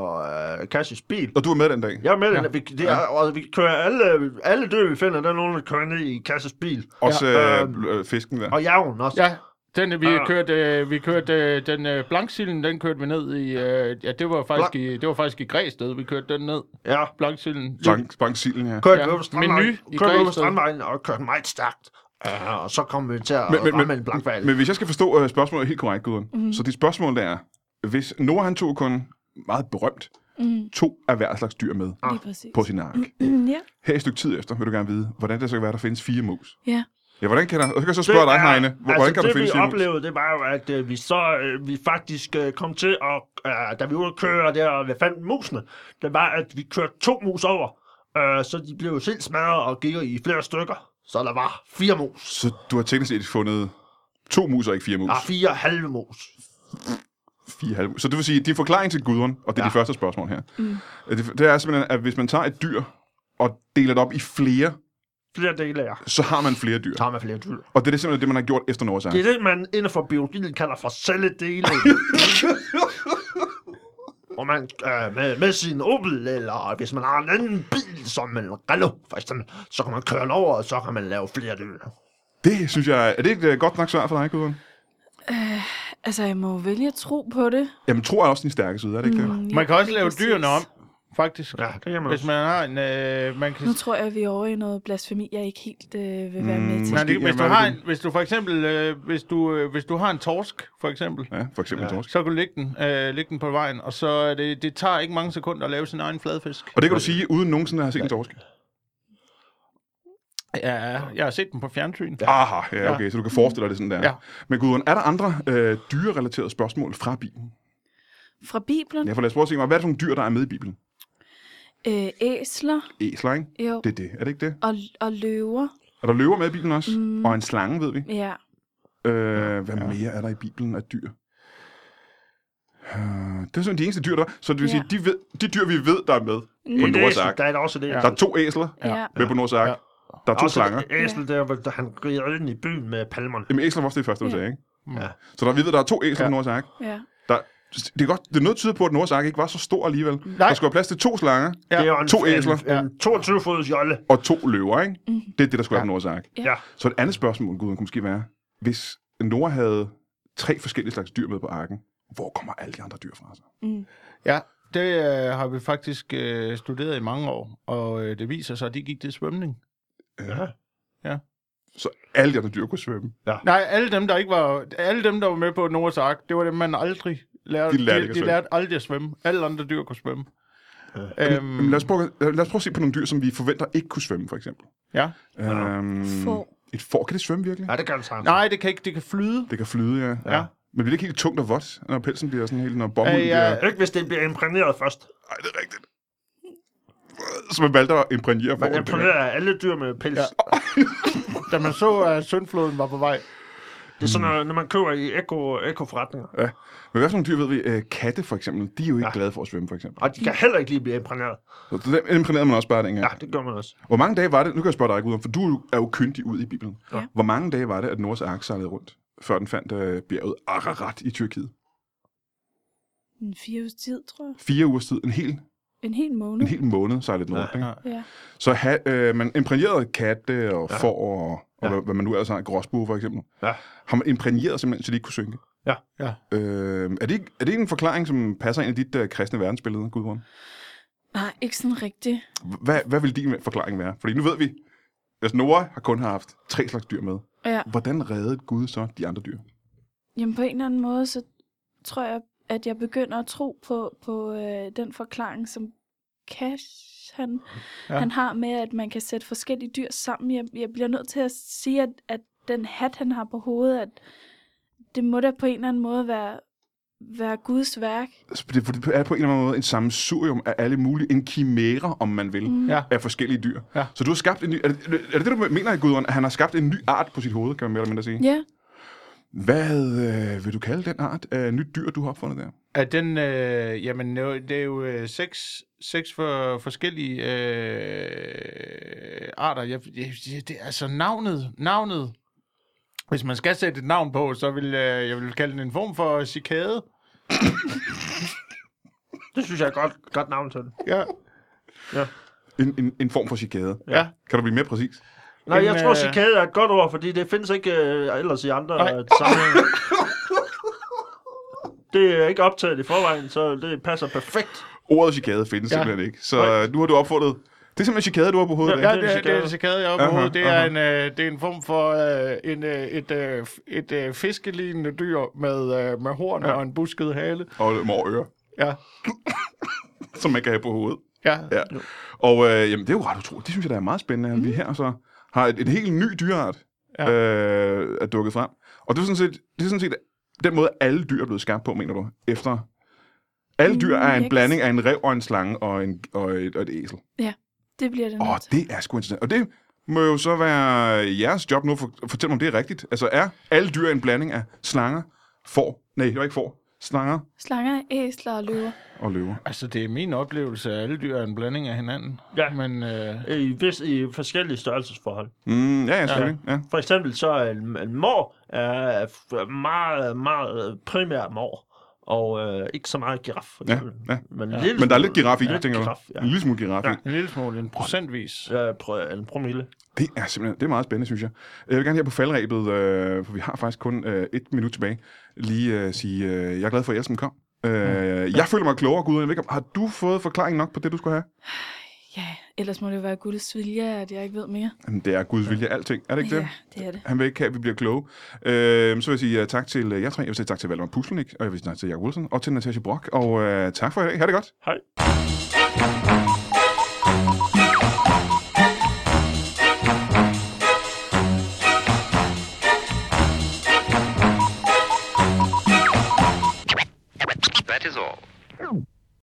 Speaker 7: uh, Cassis bil.
Speaker 1: Og du var med den dag.
Speaker 7: Jeg er med, ja. vi, det er, og vi kører alle, alle døde, vi finder, der er nogen, der kører ned i Cassis bil.
Speaker 1: Også øh,
Speaker 7: Øhm.
Speaker 1: bl- øh, fisken der.
Speaker 7: Og jævn også.
Speaker 3: Ja, den, vi
Speaker 7: Ah.
Speaker 3: kørte, øh, vi kørte øh, den øh, blanksilden, den kørte vi ned i, øh, ja, det var faktisk
Speaker 7: Blank-
Speaker 3: i, det var faktisk i Græsted, vi kørte den ned,
Speaker 7: ja.
Speaker 3: blanksilden.
Speaker 1: Bank, bank silden her.
Speaker 7: Kørte
Speaker 3: Ja.
Speaker 7: vi over
Speaker 3: Menu
Speaker 7: strandvejen,
Speaker 3: i
Speaker 7: kørte vi over
Speaker 3: Græsted.
Speaker 7: strandvejen og kørte meget stærkt. Ja, og så kom vi til at
Speaker 1: Men-
Speaker 7: men,
Speaker 1: men-
Speaker 7: ramme
Speaker 1: men-
Speaker 7: en blankvalg.
Speaker 1: Men hvis jeg skal forstå øh, spørgsmålet helt korrekt, Gudrun,
Speaker 7: Mhm.
Speaker 1: mm. så dit spørgsmål der er, hvis Noah han tog kun meget berømt
Speaker 7: Mhm.
Speaker 4: Mm,
Speaker 1: to af hver slags dyr med
Speaker 7: Ah.
Speaker 4: Lige præcis. Mm,
Speaker 1: på sin ark,
Speaker 4: ja.
Speaker 1: her et stykke tid efter vil du gerne vide, hvordan det så kan være, der findes fire mus.
Speaker 4: Ja.
Speaker 1: Ja, hvordan kan der... Og så kan jeg så spørge dig, Heine, hvor- hvordan
Speaker 7: altså,
Speaker 1: kan der
Speaker 7: det,
Speaker 1: findes
Speaker 7: vi
Speaker 1: fire mus?
Speaker 7: oplevede, det var jo, at øh, vi så øh, vi faktisk øh, kom til at, øh, da vi var ude at køre der, og vi fandt musene, det var, at vi kørte to mus over, øh, så de blev jo selv smadret og gik i flere stykker. Så der var fire mus.
Speaker 1: Så du har teknisk set fundet to mus og ikke fire mus.
Speaker 7: Der er fire halve mus.
Speaker 1: Fire halve mus. Så det vil sige, din forklaring til Gudrun, og det er ja. de første spørgsmål her, mm. det, det er simpelthen, at hvis man tager et dyr og deler det op i flere,
Speaker 7: Flere dele af jer.
Speaker 1: så har man flere dyr.
Speaker 7: Så har man flere dyr.
Speaker 1: Og det er simpelthen det, man har gjort efter Nordsjælland.
Speaker 7: Det er det, man inden for biologien kalder for celledeling. Hvor man øh, med, med sin Opel, eller hvis man har en anden bil, som en Rello, for eksempel, så kan man køre den over, og så kan man lave flere dyr.
Speaker 1: Det synes jeg... Er det ikke et øh, godt nok svar for dig, Gudrun?
Speaker 4: Altså, jeg må jo vælge at tro på det.
Speaker 1: Jamen, tror er også din stærke side, er det ikke det?
Speaker 4: Mm, ja,
Speaker 3: Man kan også
Speaker 4: lige
Speaker 3: lave
Speaker 4: præcis.
Speaker 3: dyrene om, faktisk.
Speaker 7: Ja, det kan man
Speaker 3: Hvis
Speaker 7: også.
Speaker 3: man har en, øh, man kan
Speaker 4: Nu tror jeg, vi er over i noget blasfemi, jeg ikke helt øh, vil være med til.
Speaker 3: Nej, det,
Speaker 1: Måske,
Speaker 3: hvis, du
Speaker 1: ja, hvad
Speaker 3: har
Speaker 1: er det?
Speaker 3: en, hvis du for eksempel, øh, hvis, du, øh, hvis du har en torsk, for eksempel,
Speaker 1: Ja, for eksempel ja. torsk.
Speaker 3: så kan du lægge den, øh, lægge den på vejen, og så er det, det tager ikke mange sekunder at lave sin egen fladfisk.
Speaker 1: Og det kan du sige, uden nogensinde at have set en torsk.
Speaker 3: Ja, jeg har set den på fjernsyn.
Speaker 1: Aha, ja, okay, så du kan forestille dig det sådan der.
Speaker 3: Ja.
Speaker 1: Men Gudrun, er der andre øh, dyrerelaterede spørgsmål fra Bibelen?
Speaker 4: Fra Bibelen,
Speaker 1: Ja, for lad os prøve at se mig, hvad er det for nogle dyr, der er med i Bibelen?
Speaker 4: øh, æsler,
Speaker 1: Æsler, ikke?
Speaker 4: jo,
Speaker 1: Det er det, er det ikke det?
Speaker 4: og, og løver.
Speaker 1: Og der løver med i Bibelen også, mm. og en slange, ved vi.
Speaker 4: Ja.
Speaker 1: Øh, hvad ja. mere er der i Bibelen af dyr? Øh, Det er sådan de eneste dyr, der er. Så det vil
Speaker 4: Ja.
Speaker 1: sige, de, ved, de dyr, vi ved, der er med på
Speaker 7: Et
Speaker 1: Nords
Speaker 7: æsel,
Speaker 1: Ark.
Speaker 7: der er der også det.
Speaker 1: Der er to æsler
Speaker 4: Ja.
Speaker 1: med på Nords Ark.
Speaker 3: Ja.
Speaker 1: Der er to
Speaker 7: også
Speaker 1: slanger.
Speaker 7: et æsel, der, hvor han rider ind i byen med palmerne.
Speaker 1: Jamen, æsler var også det første, du
Speaker 4: Ja.
Speaker 1: sagde, ikke?
Speaker 7: Ja.
Speaker 1: Så der, vi ved, der er to æsler Mm. ja. på Nords Ark.
Speaker 4: ja.
Speaker 1: Der, det er godt, det er noget der tyder på, at Nords Ark ikke var så stor alligevel. Nej. Der skulle være plads til to slanger
Speaker 3: Ja.
Speaker 7: Det er jo en,
Speaker 1: To æsler.
Speaker 7: En, en 22-fods jolle.
Speaker 1: og to løver, ikke? Mm. Det er det, der skulle være på Nords Ark.
Speaker 7: Ja.
Speaker 1: Så et andet spørgsmål, Gud, kunne måske være, hvis Nora havde tre forskellige slags dyr med på arken, hvor kommer alle de andre dyr fra sig?
Speaker 3: Ja, det øh, har vi faktisk øh, studeret i mange år, og øh, det viser sig, at de gik til svømning.
Speaker 7: ja.
Speaker 1: Så alle de andre dyr kunne svømme.
Speaker 3: Nej, alle dem, der ikke var, alle dem, der var med på Noahs Ark, det var dem, man aldrig lærte.
Speaker 1: De lærte ikke
Speaker 3: de,
Speaker 1: at
Speaker 3: de
Speaker 1: svømme.
Speaker 3: lærte aldrig at svømme. Alle andre dyr kunne svømme. Øhm,
Speaker 1: Mm. Men lad os, prøve, lad os prøve at se på nogle dyr, som vi forventer ikke kunne svømme, for eksempel.
Speaker 3: ja.
Speaker 1: Øhm,
Speaker 4: Får.
Speaker 1: Et får, kan det svømme virkelig?
Speaker 7: ja, det kan det samme.
Speaker 3: Nej, det kan ikke, det kan flyde.
Speaker 1: Det kan flyde, ja.
Speaker 3: Ja.
Speaker 1: Men bliver det ikke helt tungt og vådt, når pelsen bliver sådan helt, når bomulden
Speaker 3: Øh,
Speaker 1: øh,
Speaker 3: ja.
Speaker 1: bliver...
Speaker 7: Ikke hvis det bliver imprægneret først.
Speaker 1: Ej, det er rigtigt. Så man valgte at imprægnere
Speaker 7: Man
Speaker 1: fåret.
Speaker 7: imprægnerer alle dyr med pels. Ja.
Speaker 3: Da man så, at søndfloden var på vej.
Speaker 7: Det er sådan, når, når man køber i eko, ekoforretninger.
Speaker 1: Ja. Men hvad for nogle dyr ved vi? Øh, katte for eksempel, de er jo ikke ja. glade for at svømme for eksempel.
Speaker 7: Og de
Speaker 3: Mm.
Speaker 7: kan heller ikke lige blive imprægneret.
Speaker 1: Så dem imprægnerede man også bare dengang.
Speaker 7: Ja, det gør man også.
Speaker 1: Hvor mange dage var det, nu kan jeg spørge dig ikke ud om, for du er jo- er jo kyndig ud i Bibelen.
Speaker 4: Ja.
Speaker 1: Hvor mange dage var det, at Nords Ark sejlede rundt, før den fandt øh, bjerget Ararat i Tyrkiet?
Speaker 4: En fire uges tid, tror jeg.
Speaker 1: Fire ugers tid, en hel,
Speaker 4: En hel måned.
Speaker 1: en hel måned sejlede den rundt. Ja.
Speaker 4: Ja.
Speaker 1: Så ha, øh, man imprægnerede katte og ja. får og, og ja. hvad, hvad, man nu ellers har, gråsbue for eksempel.
Speaker 7: Ja.
Speaker 1: Har man imprægneret simpelthen, så de ikke kunne synke?
Speaker 7: Ja.
Speaker 3: Ja.
Speaker 1: Øh, er, det, ikke- er det ikke en forklaring, som passer ind i dit øh, kristne verdensbillede, Gudrun?
Speaker 4: Nej, ikke sådan rigtigt.
Speaker 1: Hvad, hvad vil din forklaring være? Fordi nu ved vi, at Nora har kun haft tre slags dyr med.
Speaker 4: Ja.
Speaker 1: Hvordan reddede Gud så de andre dyr?
Speaker 4: Jamen på en eller anden måde, så tror jeg, at jeg begynder at tro på, på øh, den forklaring, som Cash han,
Speaker 3: Ja.
Speaker 4: ja. han har med, at man kan sætte forskellige dyr sammen. Jeg, jeg bliver nødt til at sige, at, at den hat, han har på hovedet, at det må da på en eller anden måde være, være Guds værk.
Speaker 1: Altså, Det for det er på en eller anden måde en sammensurium af alle mulige, en kimære, om man vil, mm.
Speaker 3: Ja.
Speaker 1: af forskellige dyr.
Speaker 3: Ja.
Speaker 1: Så du har skabt en ny... Er det, er det det, du mener, Gudrun? At han har skabt en ny art på sit hoved, kan man mere eller mindre sige?
Speaker 4: Ja,
Speaker 1: Hvad øh, vil du kalde den art af nyt dyr, du har opfundet der?
Speaker 3: Er den, øh, jamen, det er jo- det er jo øh, seks, seks for, forskellige øh, arter. Jeg, jeg, jeg, det, altså navnet, navnet. Hvis man skal sætte et navn på, så vil øh, jeg vil kalde den en form for cikade.
Speaker 7: Det synes jeg er et godt, godt navn til det.
Speaker 3: Ja.
Speaker 1: En, en, en form for cikade.
Speaker 3: Ja.
Speaker 1: Kan du blive mere præcis?
Speaker 7: Nej,
Speaker 3: En,
Speaker 7: jeg tror,
Speaker 3: øh,
Speaker 7: cikade er et godt ord, fordi det findes ikke øh, ellers i andre
Speaker 3: Nej.
Speaker 7: øh, sammenhænge. Det er ikke optaget i forvejen, så det passer perfekt.
Speaker 1: Ordet cikade findes
Speaker 3: Ja.
Speaker 1: ja. simpelthen ikke. Så øh, nu har du opfundet... Det er simpelthen cikade, du har på hovedet.
Speaker 3: Ja,
Speaker 1: Ja,
Speaker 7: en
Speaker 3: det, er- det er
Speaker 7: cikade.
Speaker 3: en cikade, jeg har
Speaker 1: Aha,
Speaker 3: på hovedet. Det er
Speaker 1: aha.
Speaker 3: en, øh, det er en form for øh, en, øh, et, øh, f- et øh, fiskelignende dyr med, øh, med horn ja. og en busket hale.
Speaker 1: Og mor øre,
Speaker 3: Ja,
Speaker 1: som man kan have på hovedet.
Speaker 3: ja.
Speaker 1: Ja. Og øh, jamen, det er jo ret utroligt. Det synes jeg, der er meget spændende, at vi her så har et, et helt ny dyreart
Speaker 3: Ja.
Speaker 1: ja. øh, er dukket frem. Og det er, sådan set, det er sådan set den måde, alle dyr er blevet skabt på, mener du? Efter alle dyr er
Speaker 4: Mm,
Speaker 1: en
Speaker 4: jeg kan
Speaker 1: blanding af en rev og en slange og, en, og, et, og et æsel.
Speaker 4: det bliver det
Speaker 1: Åh, oh,
Speaker 4: nødt til.
Speaker 1: det er sgu interessant. Og det må jo så være jeres job nu, for fortæl mig, om det er rigtigt. Altså, er alle dyr en blanding af slanger, får, nej, det var ikke får, slanger
Speaker 4: Slanger, æsler og løver.
Speaker 1: og løver?
Speaker 3: Altså, det er min oplevelse, at alle dyr er en blanding af hinanden.
Speaker 7: Ja.
Speaker 3: Men, øh,
Speaker 7: I, vis, i forskellige størrelsesforhold.
Speaker 1: Mm, ja, ja, selvfølgelig. Ja.
Speaker 7: For eksempel så er en, en mor er f- meget, meget primært mor, og øh, ikke så meget giraf, for
Speaker 1: Ja,
Speaker 7: eksempel.
Speaker 1: ja.
Speaker 7: Men, en lille
Speaker 1: Men der er lidt
Speaker 7: smule-
Speaker 1: giraf i,
Speaker 7: ja,
Speaker 1: tænker
Speaker 7: giraf,
Speaker 1: du? Mm.
Speaker 7: ja.
Speaker 1: En lille smule giraf i.
Speaker 7: Ja.
Speaker 3: En lille smule, en procentvis.
Speaker 7: Ja, pr- en promille.
Speaker 1: Det er simpelthen det er meget spændende, synes jeg. Jeg vil gerne her på faldrebet, øh, for vi har faktisk kun øh, et minut tilbage, lige øh, sige, øh, jeg er glad for, at Elsen kom. Øh, Jeg føler mig klogere, Gud. Jeg ved ikke, om- har du fået forklaring nok på det, du skulle have?
Speaker 4: Ja, ellers må det være Guds vilje, at jeg ikke ved mere.
Speaker 1: Jamen, det er Guds vilje af alting, er det ikke det?
Speaker 4: Ja, det er det.
Speaker 1: Han vil ikke have, at vi bliver kloge. Øh, så vil jeg sige uh, tak til uh, jer tre. øh, Jeg vil sige tak til Valdemar Puslenik, og jeg vil sige tak til Jakob Wilson, og til Natasha Brock. Og uh, tak for i dag. Ha' det godt.
Speaker 7: Hej.